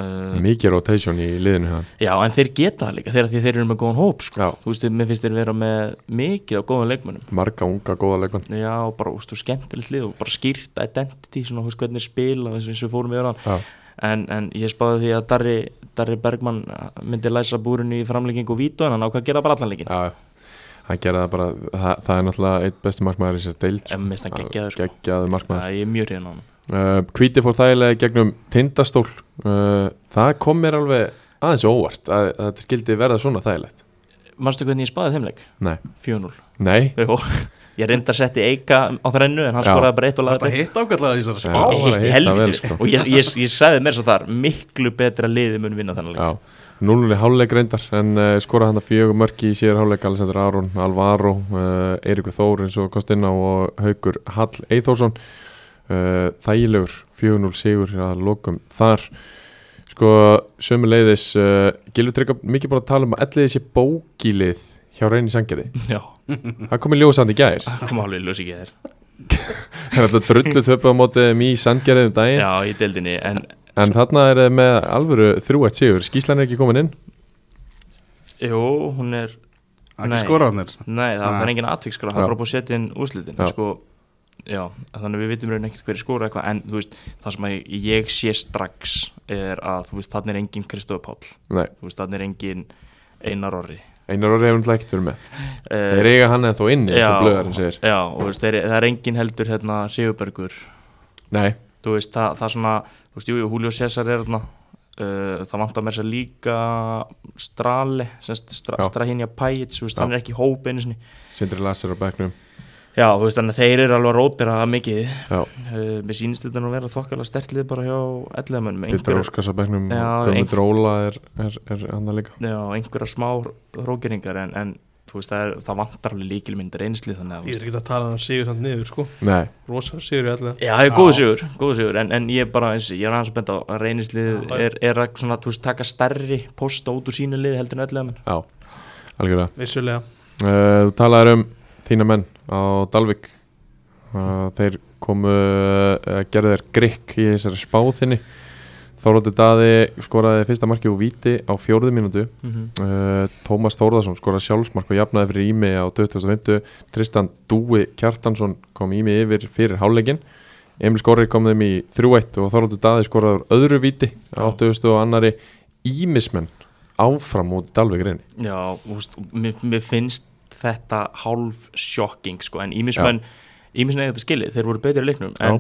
S2: uh,
S1: Mikið rotation í liðinu hann.
S2: Já, en þeir geta það líka þegar því þeir eru með góðan hóp
S1: Já.
S2: sko. Þú veist, mér finnst þeir vera með mikið á góðan leikmönnum
S1: Marga unga góða leikmann.
S2: Já, og bara, þú veist, þú skemmtilegt lið og bara skýrt identity, svona, þú veist, hvernig er spila eins og eins og við fórum yfir hann
S1: Já,
S2: en, en ég spáði því að Darri, Darri Bergmann myndi læsa búrinu í framlengingu og vítu en hann ákvað að gera bara allan leikin
S1: já, hann gera það bara, það, það er náttúrulega eitt besti markmaður í sér deild.
S2: en mér finnst hann geggjaður sko.
S1: Geggjaðu
S2: ja,
S1: markmaður.
S2: ég er mjög reyðin á hann
S1: Uh, Kvíti fór þægilega í gegnum tindastól. Uh, það kom mér alveg aðeins á óvart að, að þetta skildi verða svona þægilegt.
S2: Manstu hvernig ég spáði þeim leik?
S1: Nei.
S2: 4-0
S1: Nei,
S2: Jó, Ég reyndar að setja Eika á þrennu en hann
S1: Já.
S2: skoraði bara eitt og
S4: Þetta
S2: lagði
S4: hitt ágætlega í þessari
S1: Já.
S4: spá
S1: var að hitta vel,
S2: helviti
S1: sko.
S2: og ég, ég, ég sagði mér svo þar miklu betra liði mun vinna þannig leik
S1: Já, 0-0 í háluleik reyndar en uh, skora hann að fjögur mörki í síðar háluleik Alessandr Aron, Alvaro, uh, Eirikur Þór eins og Kostinna og Haukur Hall Eithórsson uh, þægilegur 4-0 sigur að lokum þar sko sömu leiðis uh, Gilvi Tryggja mikið búin að tala um að elliði sé bókilið hjá reyni sangjari
S2: Já,
S1: það kom í ljósandi gær
S2: það kom alveg ljós ekki þér
S1: það er alltaf drullu töpuð á móti mý sangjari um daginn
S2: Já, í deildinni en
S1: en þarna er þeir með alvöru þrjúætt sigur skýslan er ekki komin inn
S2: Jú, hún er
S4: ekki
S2: Nei.
S4: skoraðnir
S2: Nei, það
S4: Nei.
S2: var engin aðtökskra, það
S1: Já.
S2: var bara búið að setja inn úrslitin
S1: Já.
S2: sko, já, þannig að við vitum raun ekkert hverju skora eitthvað en þú veist, það sem að ég sé strax er að þú veist, þannig er engin Kristof Páll,
S1: Nei,
S2: þú veist, þannig er engin Einar Orri
S1: einar orðið hefur náttúrulega ekkert fyrir með
S2: Eh,
S1: Þeir eiga hann eða þó inni, eins og blöðarinn segir
S2: Já, og þú veist, þeir, það er engin heldur hérna Sigurbergur
S1: Nei,
S2: þú veist, það, það er svona, þú veist, jú, jú, Julio César er þarna Uh, það vantar með þess að líka Strali, semst stra,
S1: Já.
S2: Strahinja Pæts, þú veist,
S1: Já.
S2: hann er ekki í hóp einu sinni
S1: Sindri Lassar á bekknum
S2: Já, þú veist, þannig að þeir eru alveg að rótbera það mikið
S1: Já,
S2: uh, Mér sýnist þetta nú að vera þokkala stertlið bara hjá ellegamönnum
S1: Pétur Óskars á bekknum
S2: Já,
S1: Guðmund
S2: einhver-
S1: Róla er, er, er hann að líka
S2: Já, einhverja smá hrókeringar en, en þú veist, það, er, það vantar alveg líkilmyndir einslið þannig að
S3: Því
S2: þú
S3: er ekki að tala um sigur samt niður sko
S1: Nei,
S3: Rosa sigur í allega
S2: Já, það er góðu sigur, góðu sigur en, en ég er bara eins, ég er aðeins að benda á að reynislið
S3: Já, já.
S2: er, er að svona, þú veist, taka stærri posta út úr sínu lið heldur en öllega menn
S1: já, algjörlega
S3: Vissulega
S1: Uh, Þú talaðir um þína menn á Dalvik uh, Þeir komu uh, gerðu þér grikk í þessari spáðinni Þóraldur Daði skoraði fyrsta marki úr víti á fjórðu mínútu
S2: mm -hmm.
S1: uh, Tómas Þórðarsson skoraði sjálfsmark og jafnaði fyrir Ími á 2050 Tristan Dúi Kjartansson kom Ími yfir fyrir hálfleikin Emil Skorri kom þeim í 3-1 og Þorvaldur Daði skoraði úr öðru víti á 80 og annari Ímismenn áfram út Dalvik reyni
S2: Já, þú veist, mér, mér finnst þetta hálf sjokking sko, en ímismenn, ímismenn eða þetta skilið þeir voru betri í leiknum en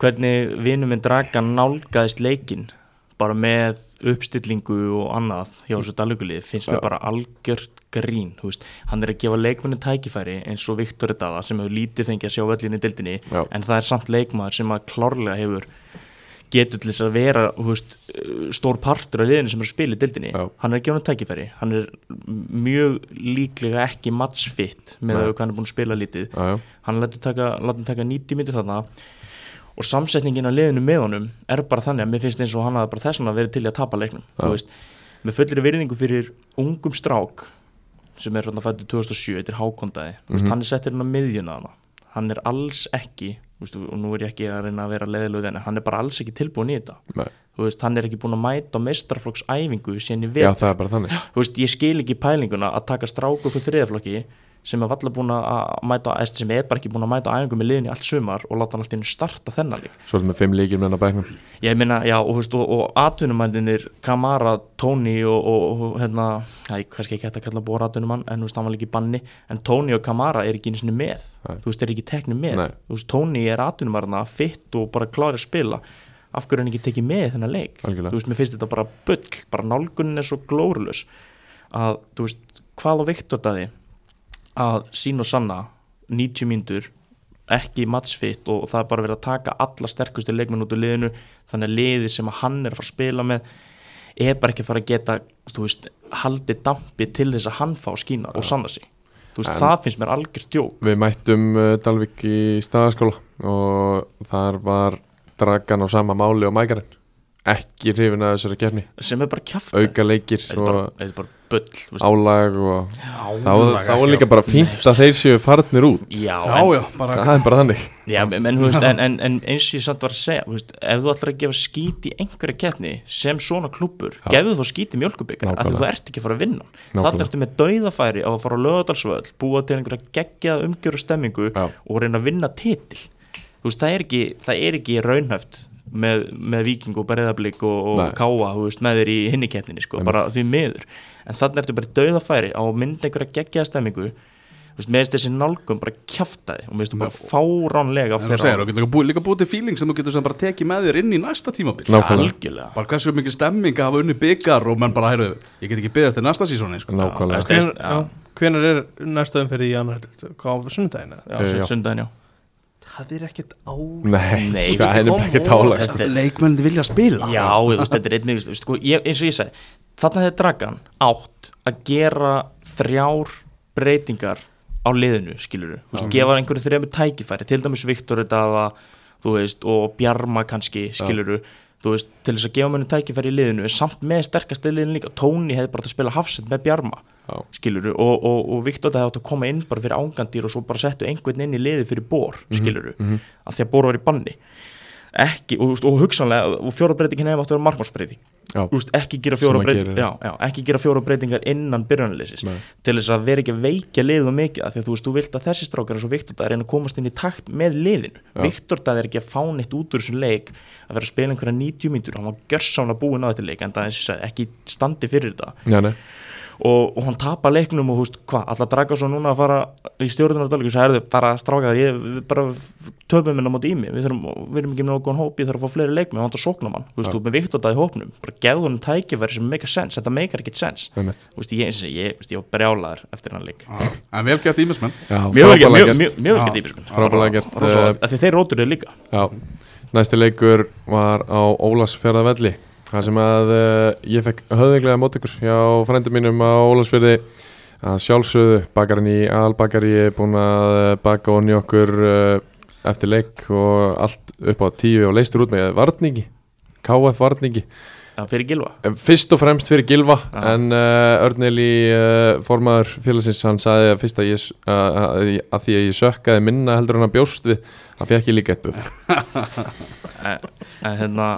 S2: hvernig vinur minn Draga nálgaðist leikin bara með uppstillingu og annað hjá þessu daluguliði finnst mér
S1: Já.
S2: bara algjört grín þú veist, hann er að gefa leikmennu tækifæri eins og Viktor Daða sem hefur lítið fengið að sjá völlinni í dildinni
S1: Já.
S2: en það er samt leikmaður sem að klárlega hefur getur til þess að vera þú veist, eh, stór partur af liðinu sem er að spila í dildinni
S1: Já.
S2: hann er að gefa hann tækifæri hann er mjög líklega ekki matchfit með
S1: Nei.
S2: að hvað hann er búin að spila lítið
S1: Jájá
S2: hann lætur taka, lætur taka 90 myndir þarna og samsetningin að liðinu með honum er bara þannig að mér finnst eins og hann hafa bara þess að verið til í að tapa leiknum
S1: Já.
S2: þú veist, með fullri virðingu fyrir ungum strák sem er fættu 2007, þetta er hákondaði mm
S1: Mhm.
S2: -hmm. hann er settir hann á miðjuna hana hann er alls ekki þú veist, og nú er ég ekki að reyna að vera leiðilega en hann er bara alls ekki tilbúin í þetta
S1: Nei.
S2: Þú veist, hann er ekki búin að mæta á mestraflokksæfingu síðan í
S1: Já,
S2: vetur
S1: það er bara þannig
S2: þú veist, ég skil ekki pælinguna að taka stráku upp í þriðaflokki sem er valla búin að mæta, eða sem er bara ekki búin að mæta á æfingu með liðin í allt sumar og láta hann allt í einu starta þennan lík.
S1: Svo erum við fimm líkir með hennar bæknum
S2: Ég meina, já, og, þú veist, og, og atvinnumændinir Kamara, Tony og, og, og hérna, það er kannski ekki hægt að kalla bóra atvinnumann, en þú veist, hann var líka í banni en Tony og Kamara er ekki einu sinni með
S1: Nei.
S2: þú veist, er ekki teknir með,
S1: Nei.
S2: þú veist, Tony er atvinnumarna fitt og bara klári að spila af hverju er hann ekki tekið með í þennan leik
S1: Algjörlega.
S2: þú veist, mér finnst þetta bara bull bara nálgunin er svo glórulös að, þú veist, hvað á Viktor daði að sín og sanna 90 mínútur ekki matchfit og það er bara verið að taka alla sterkustu leikmenn út úr liðinu þannig að liði sem að hann er að fara að spila með er bara ekki að fara að geta þú veist, haldið dampi til þess að hann fá skína og sanna sig þú veist,
S1: En-
S2: það finnst mér algjör djók
S1: Við mættum uh, Dalvik í staðaskóla og þar var dragan á sama máli og mækarinn ekki hrifin að þessari kefni
S2: sem er bara kjaft
S1: auka leikir
S2: þetta er bara,
S1: og
S2: þetta er bara bull þú veist.
S1: álag og þá,
S4: Álag
S1: þá
S4: ekki,
S1: er líka
S4: já.
S1: bara fínt að þeir séu farnir út
S2: já,
S4: Já,
S2: en,
S4: já, bara
S1: það er bara þannig
S2: já, en, en, þú veist, en, en, en eins og ég samt var að segja þú veist, ef þú ætlar að gefa skít í einhverja keppni sem svona klúppur, gefðu þá skít í mjölkubikar af því
S1: Nákvæmlega.
S2: þú ert ekki að fara að vinna
S1: Nákvæmlega.
S2: þannig ertu með dauðafæri á að fara á lögadalsvöld búa til einhverja geggjaða umgjöru stemmingu
S1: Já.
S2: og reyna að vinna titil þú veist, það er ekki, það er ekki raunhæft með, með viking og berðablík og, og
S1: Nei.
S2: káa, þú veist, með þér í hinni keppninni sko, bara því miður, en þannig ertu bara í dauðafæri á að mynda einhverja geggjaða stemmingu þú veist, meðist þessi nálgum bara kjaftaði og meðist þú bara fáránlega á
S4: En þú
S2: fleiri
S4: segir,
S2: árum.
S4: þú getur líka búið- líka búið til feeling sem þú getur sem bara tekið með þér inn í næsta tímabil
S1: Nákvæmlega.
S2: algjörlega
S4: Bara hversu mikið stemming að hafa unni byggar og menn bara, heyrðu, ég get ekki byggðið eftir næsta sísóni sko.
S1: nákvæmlega
S2: Já,
S3: Hvenar,
S2: Þeir-
S3: já, hvenar er næsta umferði í annar Hvað á sunnudaginn? eða?
S2: Já,
S1: Eh,
S2: sun-
S1: já.
S2: sundaginn, já.
S3: Það er ekkert á
S1: nei,
S2: Nei,
S1: það er
S2: come
S1: bara ekkert
S2: on.
S1: álag
S2: Þetta er-
S4: Leikmennin vilja spila
S2: Já, ég, þú veist, þetta er einnig, þú veist, sko, ég, eins og ég segi, þarna hefði Dragan átt að gera þrjár breytingar á liðinu, skilur þú veist, gefa einhverju þrejum tækifæri, til dæmis Viktor Daða, þú veist, og Bjarma kannski, skilur þú veist, til þess að gefa mönnum tækifæri í liðinu, en samt með sterkast í liðinu líka, Tóni hefði bara átt að spila hafsend með Bjarma,
S1: Já.
S2: skilur og, og, og Viktor Daða átt að koma inn bara fyrir ángandýr og svo bara settu einhvern inn í liði fyrir Bór, skilur mm -hmm. að því að Bór var í banni ekki, og, þú veist, og hugsanlega og fjóra breytingin hefði átt að vera markmannsbreyting
S1: Já.
S2: Þú veist, ekki, gera
S1: Sem
S2: fjóra
S1: hann
S2: breyting,
S1: gerir.
S2: já, já, ekki gera fjóra breytingar innan byrjanleysis
S1: Nei.
S2: til þess að vera ekki að veikja liðið og mikið af því að þú veist, þú vilt að þessi strákar eins og Viktor Dæð reyna að komast inn í takt með liðinu
S1: Já.
S2: Viktor Dæð er ekki að fá neitt út úr þessum leik að vera að spila einhverja 90 mínútur hann var gjörsána búin á þetta leik en það er ekki í standi fyrir þetta
S1: Já, nei,
S2: og, og hann tapar leiknum og húst hvað, alltaf draga svo núna að fara í stjórnunar og svo er þau bara að stráka það ég við bara töfum minna móti í mig við, þurfum, við erum ekki með nokkuð hóp, ég þarf að fá fleiri leikmenn og hann það sóknar mann, þú veist,
S1: Já.
S2: þú ert með Viktor það í hópnum bara gefðu honum tækifæri sem meikar sens þetta meikar ekkert sens,
S1: einmitt
S2: þú veist, ég, ég, ég, ég, ég var brjálaður eftir hann leik
S4: En vel gert ímismenn
S1: Já,
S2: mjög vel gert,
S1: frábælega
S2: mjög- mjög- mjög vel
S4: Já.
S2: gert yfir
S1: Frábælega gert, eh,
S2: af því þeir rótur þau líka
S1: Já, næsti leikur var á Ólasfjörðavelli Það sem að uh, ég fekk höfðinglega mót ykkur hjá frændi mínum á Ólasfjörði að sjálfsögðu bakarinn í albakari er búin að eh, baka onni okkur uh, eftir leik og allt upp á tíu og leistur út með varningi KF varningi
S2: það fyrir gilva
S1: Eh, Fyrst og fremst fyrir Gilva
S2: Já.
S1: en uh, Örneli uh, formaður félagsins hann sagði að fyrst að ég uh, að, að því að ég sökkaði minna heldur hann að bjóst við það fekk ég líka eitt buff
S2: en, en hérna,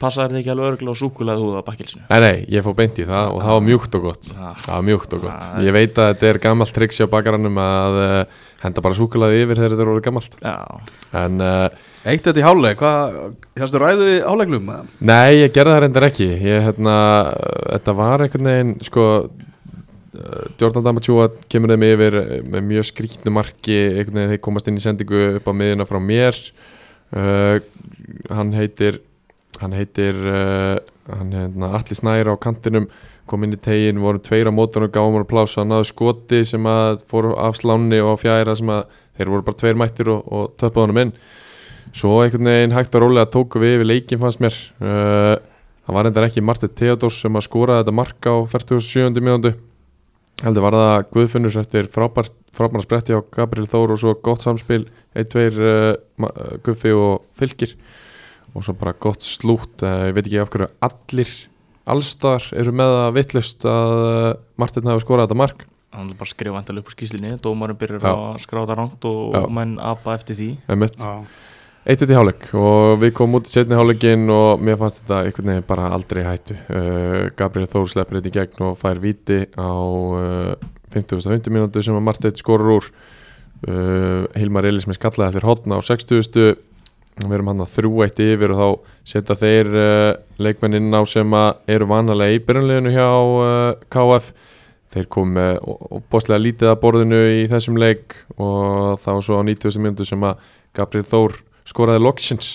S2: passaður þið ekki alveg örgulega og súkulega húða að bakkilsinu
S1: Nei, nei, ég fór beint í það og það var mjúkt og gott Það var mjúkt og gott
S2: Ah.
S1: Ég veit að þetta er gammalt triks hjá bakaranum að uh, henda bara súkulaði yfir þegar þetta er orðið gammalt
S2: já,
S1: En uh,
S4: Eitt þetta í hálfleik, hvað, hérstu ræðu í hálfleiklum? eða?
S1: nei, ég gerði það reyndar ekki ég, hérna, uh, Þetta var einhvern veginn sko uh, Jordan Damatjúa kemur þeim yfir uh, með mjög skrítnu marki einhvern veginn þeir komast inn í sendingu upp á miðina frá mér uh, Hann heitir hann heitir uh, hann hérna, Atli Snæra á kantinum kom inn í tegin, vorum tveir á mótunum gáum hann plása, hann náði skoti sem að fór af sláni og á fjæra sem að þeir voru bara tveir mættir og, og töppaði honum inn svo einhvern veginn hægt og rólega tóku við yfir leikin fannst mér uh, það var endar ekki Martin Theodors sem að skoraði þetta mark á 47. mínúndu heldur var það Guðfinnur eftir frábært frábæra spretti á Gabriel Þór og svo gott samspil 1-2 uh, Ma- uh, Guffi og Fylkir og svo bara gott slútt uh, ég veit ekki af hverju allir allstar eru með það vittlust að uh, Martin hafi skorað þetta mark
S2: hann er bara að skrifa endal upp úr skýslinni dómarinn byrjar
S1: Já.
S2: að skráða rangt og
S1: Já.
S2: menn apa eftir því
S1: einmitt,
S4: Já.
S1: eitt eitt í hálfleik og við komum út í setni hálfleikin og mér fannst þetta einhvern veginn bara aldrei í hættu uh, Gabriel Þór sleppur þetta í gegn og fær viti á uh, 50-50 mínútu sem að Martin skorur úr uh, Hilmar Elís með skallaði eftir hotna á 60 og við erum hann að þrjú eitt yfir og þá setja þeir uh, leikmennin á sem að eru vanalega í byrjunleginu hjá uh, KF þeir komu með bóðslega lítið að borðinu í þessum leik og þá svo á 90. minútu sem að Gabriel Þór skoraði loksins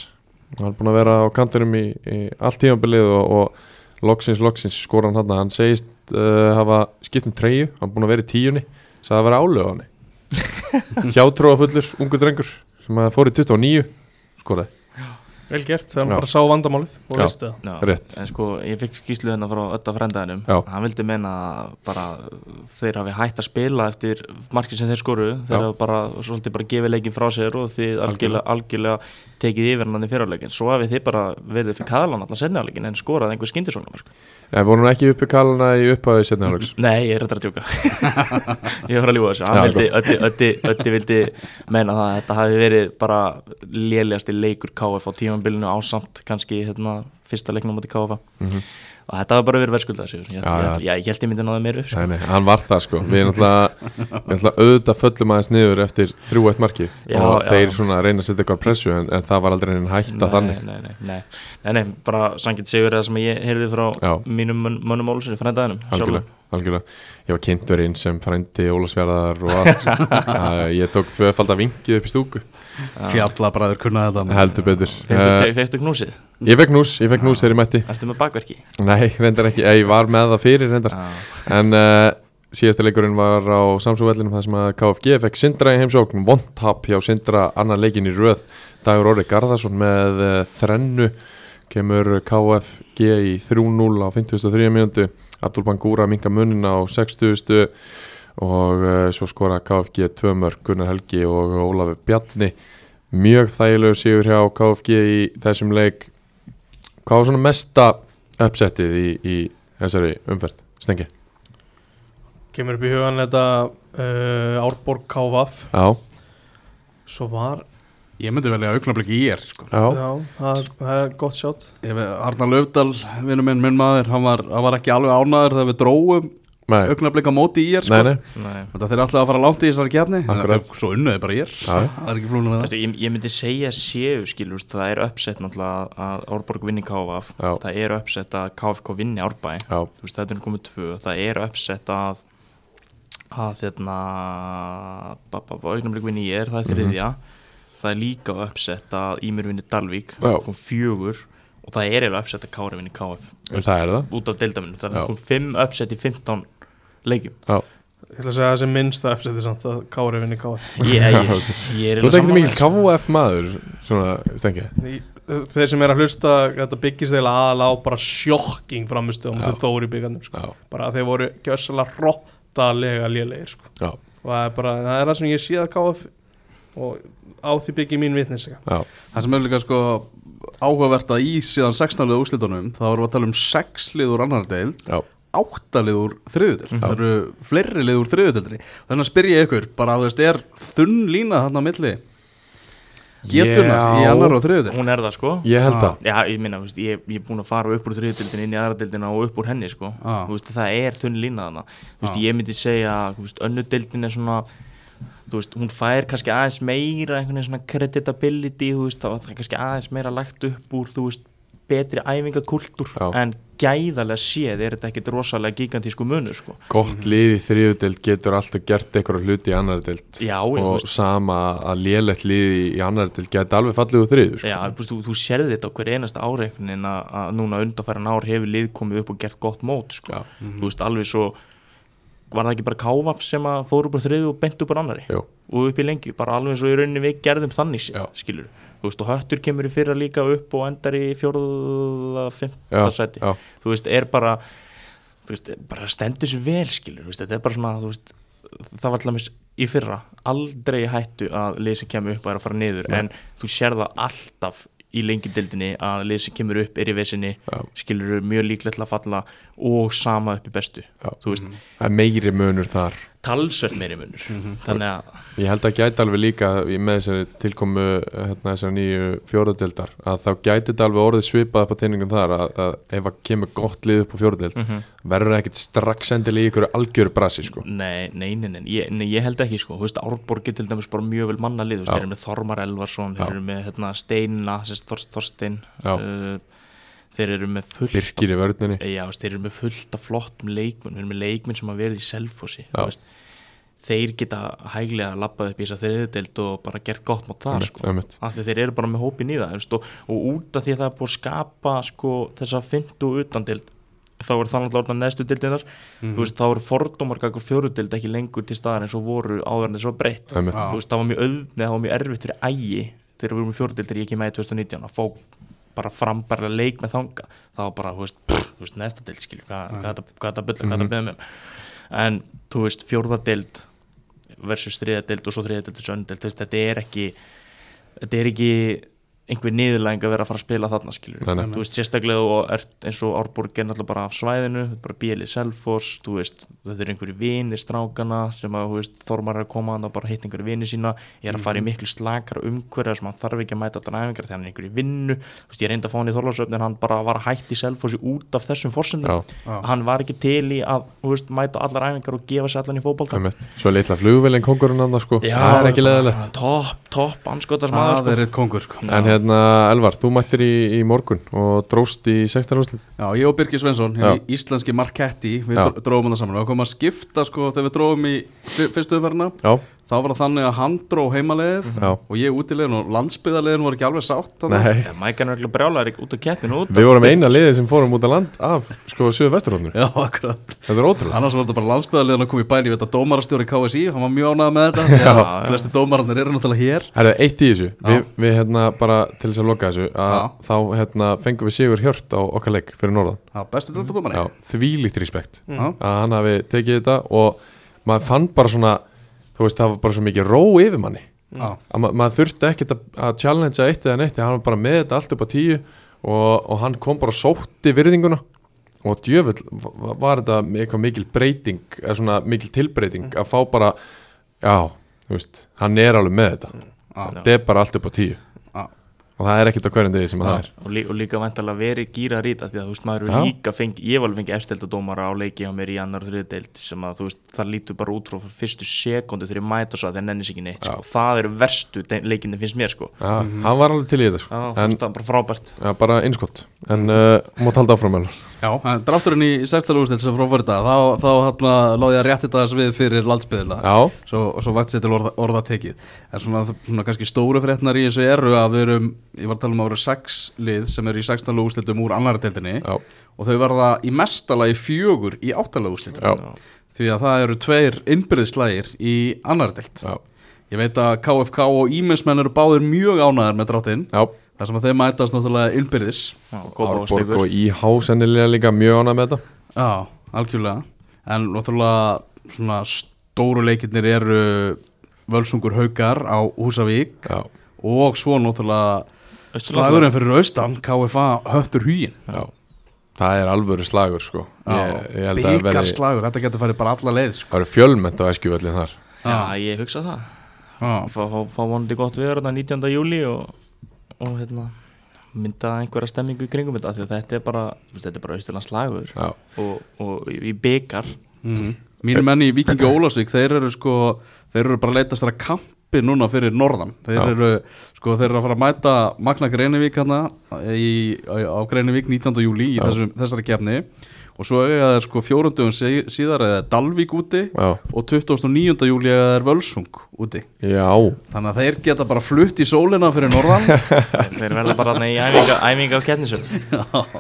S1: hann er búin að vera á kantinum í, í allt tímanbilið og, og loksins, loksins skora hann hann hann segist uh, hafa skipt um treyju, hann er búin að vera í tíunni sagði að vera álega hann hjátrúa fullur, ungur drengur sem að fór í 29 skoraði,
S3: Vel gert,
S1: Já.
S3: það hann bara sá vandamálið og
S1: Já.
S3: veist það
S2: Já.
S1: rétt
S2: en sko ég fikk skýslu hennar frá ötta frendaðinum
S1: Já.
S2: hann vildi meina að bara þeir hafi hægt að spila eftir markin sem þeir skoru þeir
S1: Já.
S2: hafi bara svolítið bara gefið leikin frá sér og þið algjörlega, algjörlega tekið yfir hann í fyrrjáleikin svo hafi þið bara verið fyrir kaðlan allan setnjáleikin en skorað einhver skyndisóknar
S1: en voru hann ekki uppi kalana í upphæðu setna hálfleiks
S2: Nei, ég er þetta að tjóka Ég var að ljúga þessu
S1: Já,
S2: Hann vildi, ötti, ötti, ötti vildi meina það að þetta hafi verið bara lélegasti leikur KF á tímanbylinu ásamt kannski hérna, fyrsta leiknum átti KF og þetta hafi bara verið verðskuldað sigur ég,
S1: Mhm. Já,
S2: ég,
S1: já.
S2: ég, ég held ég myndi náða meira upp sko.
S1: Nei, nei, hann var það sko Við náttúrulega, við náttúrulega auðvitað föllum aðeins niður eftir 3-1 marki
S2: Já,
S1: og
S2: já.
S1: þeir svona reyna að setja eitthvað pressu en, en það var aldrei einn hætta þannig
S2: nei, nei, nei, nei, nei, bara sangið sigur eða sem ég heyrði frá
S1: Já.
S2: mínum mön- mönnum Ólfsson í frændaðinum
S1: algjörlega, algjörlega Ég var kynntur inn sem frændi Ólasverðar og allt sko. Æ, Ég tók tvöfald að vingið upp í stúku
S4: Fjallabræður kunna þetta maður.
S1: Heldur betur Eh,
S2: Feistu knúsið?
S1: Ég fekk nús, ég fekk nús þegar ég mætti
S2: Ertu með bakverki?
S1: Nei, reyndar ekki, Eh, ég var með það fyrir reyndar
S2: Já,
S1: En uh, síðasta leikurinn var á Samsóvellinum þar sem að KFG fekk Sindra í heimsókn, vondtap hjá Sindra annar leikin í röð, Dagur Orri Garðarsson með uh, þrennu kemur KFG í 3-0 á 53. mínútu Abdul Bangura minka munin á 60. og uh, svo skora KFG tvö mörg Gunnar Helgi og Ólafur Bjarni mjög þægilegu sigur hjá KFG í þessum leik hvað var svona mesta uppsettið í, í þessari umferð, Stengi?
S3: Kemur upp í hugan þetta uh, Árborg KVF
S1: Já,
S3: Svo var
S4: Ég myndi velja augnablik í ég sko.
S1: Já,
S3: Já, það, það er gott sjátt
S4: Ef- Arnar Löfdal, vinnu minn, minn maður hann var, hann var ekki alveg ánæður þegar við dróum
S1: nei,
S4: augnablik á móti í ég sko.
S1: nei, nei
S2: Nei.
S4: Þetta þeir ætlaði að fara langt í þessari kjarni
S1: Akkurat.
S4: Svo unnuði bara ég
S1: Já.
S4: Það er ekki flónum
S2: Veistu, ég, ég myndi segja séu skilur, það er uppsett náttúrulega að Árborg vinni KFF
S1: Já.
S2: það er uppsett að KFK vinni Árbæ
S1: Já,
S2: Þú veist, þetta er komið tvö það er uppsett að að hérna, þérna augnumleik vinni ég er,
S1: Mhm.
S2: það er þriðja það er líka uppsett að Ímir vinni Dalvík,
S1: Já.
S2: kom fjögur og það er eða uppsett að Kári vinni KF
S1: um það er það
S2: út af deildaminu, það
S1: Já.
S2: er kom fimm uppsett í 15 leikjum
S3: Ég ætla að segja að það sem minnsta uppsetið samt að Kári vinni Kári
S2: ég, ég, ég, ég er
S1: Þú ert
S2: eiginlega
S1: ekkert mikil
S2: sammála.
S1: KF maður Svona, stengi
S3: Í- uh, Þeir sem er að hlusta þetta byggist eða aðal á bara sjokking framistu á mútið Þóri byggandum sko.
S1: Já,
S3: bara að þeir voru gjössalega rottalega lélegir sko.
S1: Já.
S3: og það er bara það er það sem ég sé að KF og á því byggi mín vitniska
S1: já,
S4: Það sem er líka sko áhugavert að í síðan 16 liða úrslitunum þá erum við að tala um 6 lið úr annar deild
S1: já
S4: 8 lið úr þriðudild
S1: Mhm.
S4: það eru fleiri lið úr þriðudildri þannig að spyrja ég ykkur, bara þú veist, er þunn lína þarna á milli getuna í
S1: Já.
S4: annar og þriðudild
S2: hún er það sko
S1: Ég held það
S2: Já, ég minna, veist, ég, ég er búinn að fara upp úr þriðdildin inn í aðradildina og upp úr henni sko.
S4: Já.
S2: Þú veist, það er þunn lína þarna Þú veist,
S4: Já.
S2: ég myndi segja að önnudildin er svona þú veist, hún fær kannski aðeins meira einhvern veginn svona creditability þú veist, þá er það kannski aðeins meira lagt upp úr þú veist, betri æfingakultúr
S1: Já.
S2: en gæðalega séð er þetta ekkit rosalega gigantísku munur sko.
S1: Gott lið í þriðudeld getur alltaf gert eitthvað hluti í annar deild
S2: Já, já, þú
S1: og
S2: veist.
S1: sama að lélegt lið í annar deild geti alveg fallið úr þriðu sko.
S2: Já, þú, veist, þú, þú sérði þetta okkur einasta áreiknin að, að núna undanfæran ár hefur lið komið upp og gert gott mót sko.
S1: Já.
S2: þú veist alveg svo var það ekki bara Kávaf sem að fór upp á þriðu og bent upp á annari
S1: Jú.
S2: og upp í lengju, bara alveg eins og í rauninni við gerðum þannig
S1: Já.
S2: séð, skilur þú veist og höttur kemur í fyrra líka upp og endar í
S1: Já,
S2: fjórða, fymta sæti
S1: já.
S2: þú veist, er bara þú veist, bara stendur sér vel skilur þú veist, þetta er bara svona, þú veist það var allavega í fyrra aldrei í hættu að lið sem kemur upp er að fara niður en þú sér það alltaf í lengjumdeldinni að lið sem kemur upp er í vesinni,
S1: Já.
S2: skilur mjög líklegt til að falla og sama upp í bestu
S1: Já.
S2: þú veist,
S1: Það er meiri munur þar
S2: talsvert meiri munur
S1: Mhm.
S2: þannig að,
S1: Ég held að gæti alveg líka í- með þessari tilkomu hérna, þessari nýju fjóruðdeldar að þá gæti þetta alveg orðið svipað upp á teiningum þar að, að ef að kemur gott lið upp á fjóruðdeld verður það ekkit strax endilega í ykkur algjöru brasi sko.
S2: nei, nei, nei, nei, ég, nei ég held ekki sko, þú veist, Árborgi til dæmis bara mjög vel manna lið, þú
S1: Já.
S2: veist, þeir eru með Þormar Elvarsson þeir
S1: Já.
S2: eru með hérna, Steinna, sérst Þor, Þorstein
S1: Já.
S2: uh, þeir eru með fullt af-
S1: Birkir í vörninni
S2: Já, veist, þeir eru með fullt af flottum leikmenn við erum með leikmenn sem hafa verið í selfossi
S1: Já.
S2: þeir geta hæglega lappað upp í þess að þriðdelt og bara gert gott mát það
S1: Einmitt,
S2: sko.
S1: einmitt.
S2: af því þeir eru bara með hópin í það veist, og, og út af því að það er búið að skapa sko, þess að fyndu utandelt þá er það náttúrulega orðan neðstu deildinnar þú veist, þá eru fordómar kakur fjörudeld ekki lengur til staðar eins og voru áður en þess var breytt
S1: Einmitt.
S4: Já.
S2: þú veist, það var mjög auð, neða það var mjög erfitt fyrir ægi þegar við vorum í fjóruðildir ég ekki með í 2019 að fá bara frambæra leik með þanga það var bara, þú veist, pff, þú veist, næsta deild skilur hvað hvað þetta hvað þetta bulla, hvað þetta beða með en, þú veist, fjórðadeild versus þriðadeild og svo þriðadeild og söndeild, þú veist, þetta er ekki þetta er ekki einhver niðurlæðing að vera að fara að spila þarna skilur
S1: Nei, nei.
S2: þú veist sérstaklega og ert eins og Árborg er náttúrulega bara af svæðinu, þetta er bara bílið Selfoss, þú veist, þetta er einhverju vinir strákana sem að, þú veist, Þormar er að koma hann og bara hitt einhverju vinir sína ég er að
S1: Mhm.
S2: fara í miklu slakar umhverja sem hann þarf ekki að mæta allan æfingar þegar hann er einhverju vinnu þú veist, ég reyndi að fá hann í Þorlarsöfn en hann bara var að hætti Selfossi út af
S1: Já.
S2: þessum forsendum
S4: Já.
S2: hann var ekki til í að, þú veist, mæta allar æfingar og gefa sér allan í fótbolta
S1: Einmitt. Svo litla flugvelin kongurinn annars sko Það er ekki leðilegt
S2: Topp, topp, anskotas maður
S4: það er eitt kongur sko.
S1: En hérna Elvar, þú mættir í, í morgun og dróst í 16 úrslit
S4: Já, ég og Birgir Svensson,
S1: Já.
S4: hinn íslenski Marketti við
S1: Já.
S4: dró- dróum það saman, við komum að skipta sko, þegar við dróum í fyr- fyrstu umferðina
S1: Já,
S4: þá var það þannig að hann dró heimaleið
S1: Já.
S4: og ég útilegin og landsbyðarlegin voru ekki alveg sátt þannig.
S1: nei
S2: Já, Mækan er ekki brjálæri út af keppinu út
S1: Við vorum eina liðið sem fórum út að land af sko söðu vesturhóðnur
S4: Já, akkurat
S1: Þetta er ótrúlega
S4: Annars var þetta bara landsbyðarlegin að koma í bæn Ég veit að dómarastjóri KSI, hann var mjög ánægð með þetta Já, já. Flesti dómararnir eru náttúrulega hér
S1: Herðu, eitt í þessu, við, við hérna bara til þess að loka þessu að
S4: Já.
S1: þá hérna fengum við Sigur Hjört á okkar leik fyrir norðan
S4: Já, bestu þetta dómari
S1: Já, þvílíkt respekt
S4: Já.
S1: að hann hafi tekið þetta og maður fann bara svona þú veist, það var bara svo mikið ró yfir manni
S4: Já.
S1: að ma maður þurfti ekkert að, að challengea eitt eða neitt, því hann var bara með þetta allt upp á tíu og, og hann kom bara og sótti virðinguna og djöfull va- var þetta eitthvað mikil breyting eða svona mikil tilbreyting að fá bara já, þú veist, hann er alveg með þetta
S4: Já.
S1: þetta er bara allt upp á tíu
S4: Já.
S1: og það er ekkert á hverjum degi sem það er
S2: og, lí, og líka vantarlega verið gýra rít af því að þú veist maður
S1: Já.
S2: er líka fengi, ég var alveg fengið eftirdeildadómara á leiki á mér í annar og þriðdeild sem að þú veist það lítur bara út frá fyrstu sekundu þegar ég mæta svo að það nenni sig ekki neitt
S1: Já.
S2: sko. það eru verstu leikinni finnst mér sko
S1: Já, hann var alveg til í þetta
S2: Já,
S1: sko.
S2: þú
S1: en,
S2: veist, það er bara frábært
S1: já, bara einskott en uh, mót halda áfram Elvar.
S4: Já, en drátturinn í sextalúgustil sem fráfæri þetta, þá, þá hérna, láði ég að rétti þetta við fyrir landsbyðina
S1: já,
S4: svo, svo vakti sér til orða, orða tekið en svona, svona kannski stóru fréttnar í þessu eru að við erum, ég var að tala um að vera sex lið sem eru í sextalúgu úrslitum úr annari deildinni
S1: já,
S4: og þau verða í mestalagi fjögur í áttalegu úrslitum
S1: já,
S4: því að það eru tveir innbyrðislægir í annari deild
S1: já,
S4: ég veit að KFK og Ímensmenn eru báðir mjög ánæðar með dráttinn
S1: já.
S4: þar sem að þeim mætast náttúrulega innbyrðis
S2: Já, og
S1: Árborg
S2: Kópavogsleikur.
S1: og IH sennilega líka mjög ánað með þetta
S4: Já, algjörlega En náttúrulega svona stóru leikirnir eru Völsungur Haukar á Húsavík
S1: já,
S4: og svo náttúrulega
S2: Austurlandslægur.
S4: slagurinn fyrir austan KFA höttur hugin
S1: já. það er alvöru slagur sko. ég, ég held að það verði-
S4: Byggarslagur, þetta getur farið bara alla leið sko.
S1: það eru fjölmönd á eskjuvöllin þar
S2: Já, ég hugsa það
S4: Já,
S2: Fá, fá, fá vonandi gott við þarna 19. júli og, og hérna, mynda einhverja stemmingu í kringum þetta af því að þetta er bara, þú veist, þetta er bara austurlandslægur
S1: já,
S2: og, og í- í byggar
S4: mhm. Mínir menn í Vikingi Ólafsvík þeir eru sko, þeir eru bara að leitast að kampi núna fyrir norðan þeir
S1: Já.
S4: eru, sko, þeir eru að fara að mæta Magna Greinivík hana í, á Greinivík 19. júli í
S1: Já.
S4: þessum, þessari kefni og svo eiga þeir sko fjórundugum síðar eða Dalvík úti
S1: já,
S4: og 29. júli eða er Völsung úti
S1: já.
S4: þannig að þeir geta bara flutt í sólina fyrir norðan
S2: þeir þeir verða bara þarna í æfinga, æfinga á kettinsum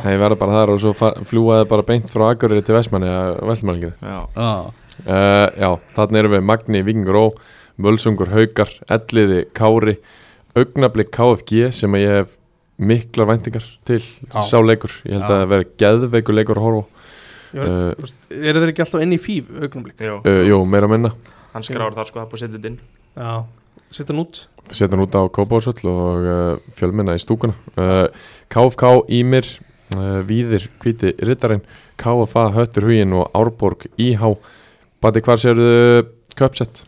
S1: Þeir verða bara þar og svo fa- fljúga þeir bara beint frá Akureyri til Vestmanni að Vestmanninginu.
S2: Já,
S4: Já,
S1: Uh, já, þannig erum við Magni Vingur Ó, Völsungur Haukar, Elliði Kári, Augnablik KFG sem að ég hef miklar væntingar til
S4: Já.
S1: sá leikur. Ég held
S4: Já.
S1: að það verði geðveikur leikur að horfa.
S3: Ég
S1: á.
S3: var-
S1: Uh,
S3: Þú veist, Eru þeir ekki alltaf inn í fíf augnumlik?
S2: Jó,
S1: uh, jú, meira að minna.
S2: hann skráður þar sko, það er búið að setja þetta inn
S3: Já, setja hann út
S1: setja hann út á Kópásvöll og uh, fjölminna í stúkuna uh, KFK Ímir uh, Víðir Kvíti Rittarinn KFA Höttur Huginn og Árborg IH Bati, hvar sérðu köpsett?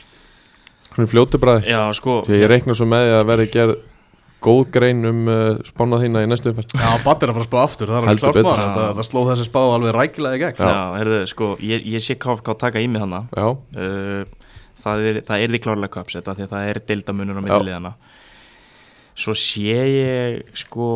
S1: Hvernig fljótu bræði?
S2: Já, sko,
S1: Því að ég reikna svo með því að verði gerð góð grein um uh, spánað þína í næstu umferð
S4: já Batti er að fara að spá aftur, það er alveg
S1: Heldur
S4: klárt
S1: betur.
S4: maður þetta, það sló þessi spá alveg rækilega í gegn
S2: já, heyrðu, sko ég, ég sé KFK taka í mig hana
S1: Já,
S2: uh, það er, það er því klárlega kapset af því að það er
S1: Já.
S2: deildamunur á milli liðana svo sé ég sko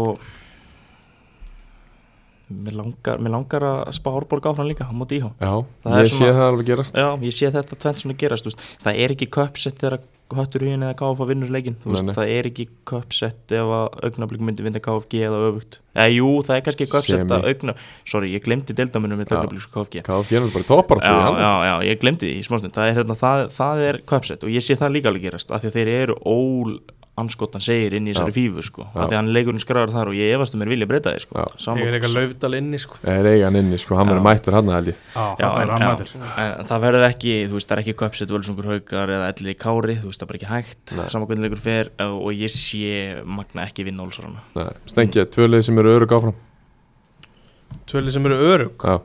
S2: mér langar, mér langar að spá Árborg áfram líka á móti íhá
S1: já,
S2: Það er
S1: ég sé
S2: svona-
S1: það alveg gerast
S2: já, ég sé þetta tvennt svona gerast þú veist. það er ekki kapset þegar höttur hugin eða KFA vinnur leikinn þú
S1: Nei,
S2: veist,
S1: nei.
S2: það er ekki kapset ef að augnablík myndi vinna KFG eða öfugt eða jú, það er kannski kapset
S1: Semi.
S2: að augna sorry, ég glemdi deildamunum með
S1: Já.
S2: augnablík og KFG
S1: KFG er nú bara toppar
S2: já, já, já, ég glemdi því í smástund það er, hérna, það, það er kvepsett og ég sé það líka alveg gerast af því að þeir eru ól anskotan segir inn í þessari fífu sko af því að hann leikurinn skráður þar og ég efast um mér vilja breyta þér sko
S1: Já.
S2: Sama-
S3: Ég er eitthvað laufdal inni sko
S1: Það er eigan inni, sko, hann verður mættur hann held ég
S4: Já,
S2: Já,
S4: það
S2: en,
S4: er hann mættur
S2: já, en það verður ekki, þú veist, það er ekki kvepsett völsungur haukar eða elliði kári, þú veist, það er bara ekki hægt saman hvernig leikur fer uh, og ég sé Magna ekki vinna ólsarana
S1: Nei, Stengja, tvö lið sem eru örug áfram
S3: Tvöli sem eru örug,
S1: Já,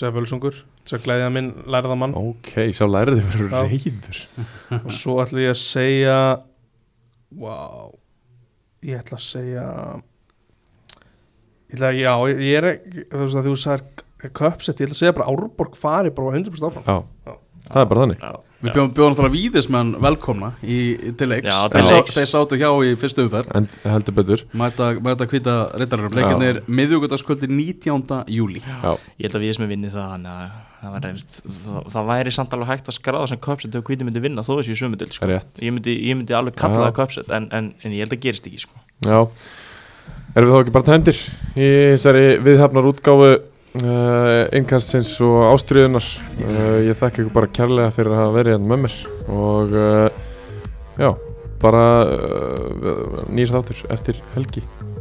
S3: segja völsungur Segja glæðið minn, lærða mann
S1: ok, sá lærið þeir eru
S3: Já.
S1: reyður
S3: Og svo ætla ég að segja Vá Ég ætla að segja Ég ætla að, já, ég- ég er ekki Þú veist að þú sagðir köpsett Ég ætla að segja bara Árborg fari bara 100% áfram
S1: Já, það er bara þannig
S2: Já,
S4: Við bjóðum bjóðum náttúrulega víðismenn velkomna í, í til leiks
S2: Já,
S4: Þeir
S1: til
S4: sá-
S2: leiks.
S4: Þeir sátu hjá í fyrstu umferð
S1: En heldur betur
S4: Mæta, mæta um hvita reytarurum Leikarnir miðjúkvöldaskvöldi 19. júli
S1: Já,
S2: ég held að við sem er vinnið það þannig að það, var, reyfst, það, það væri samt alveg hægt að skráða sem kvepsett og hvíti myndi vinna þó þessi í sömudil sko.
S1: rétt
S2: ég myndi, ég myndi alveg kalla
S1: Já.
S2: það köpset en, en, en ég held að gerist ekki sko.
S1: Já, erum við þá ekki bara tæmdir í þessari viðhafnar útgáfu uh, innkastins og ástriðunar uh, Ég þekki ykkur bara kærlega fyrir að hafa verið hérna með mér og eh, uh, já, bara uh, nýr þáttur eh, eftir helgi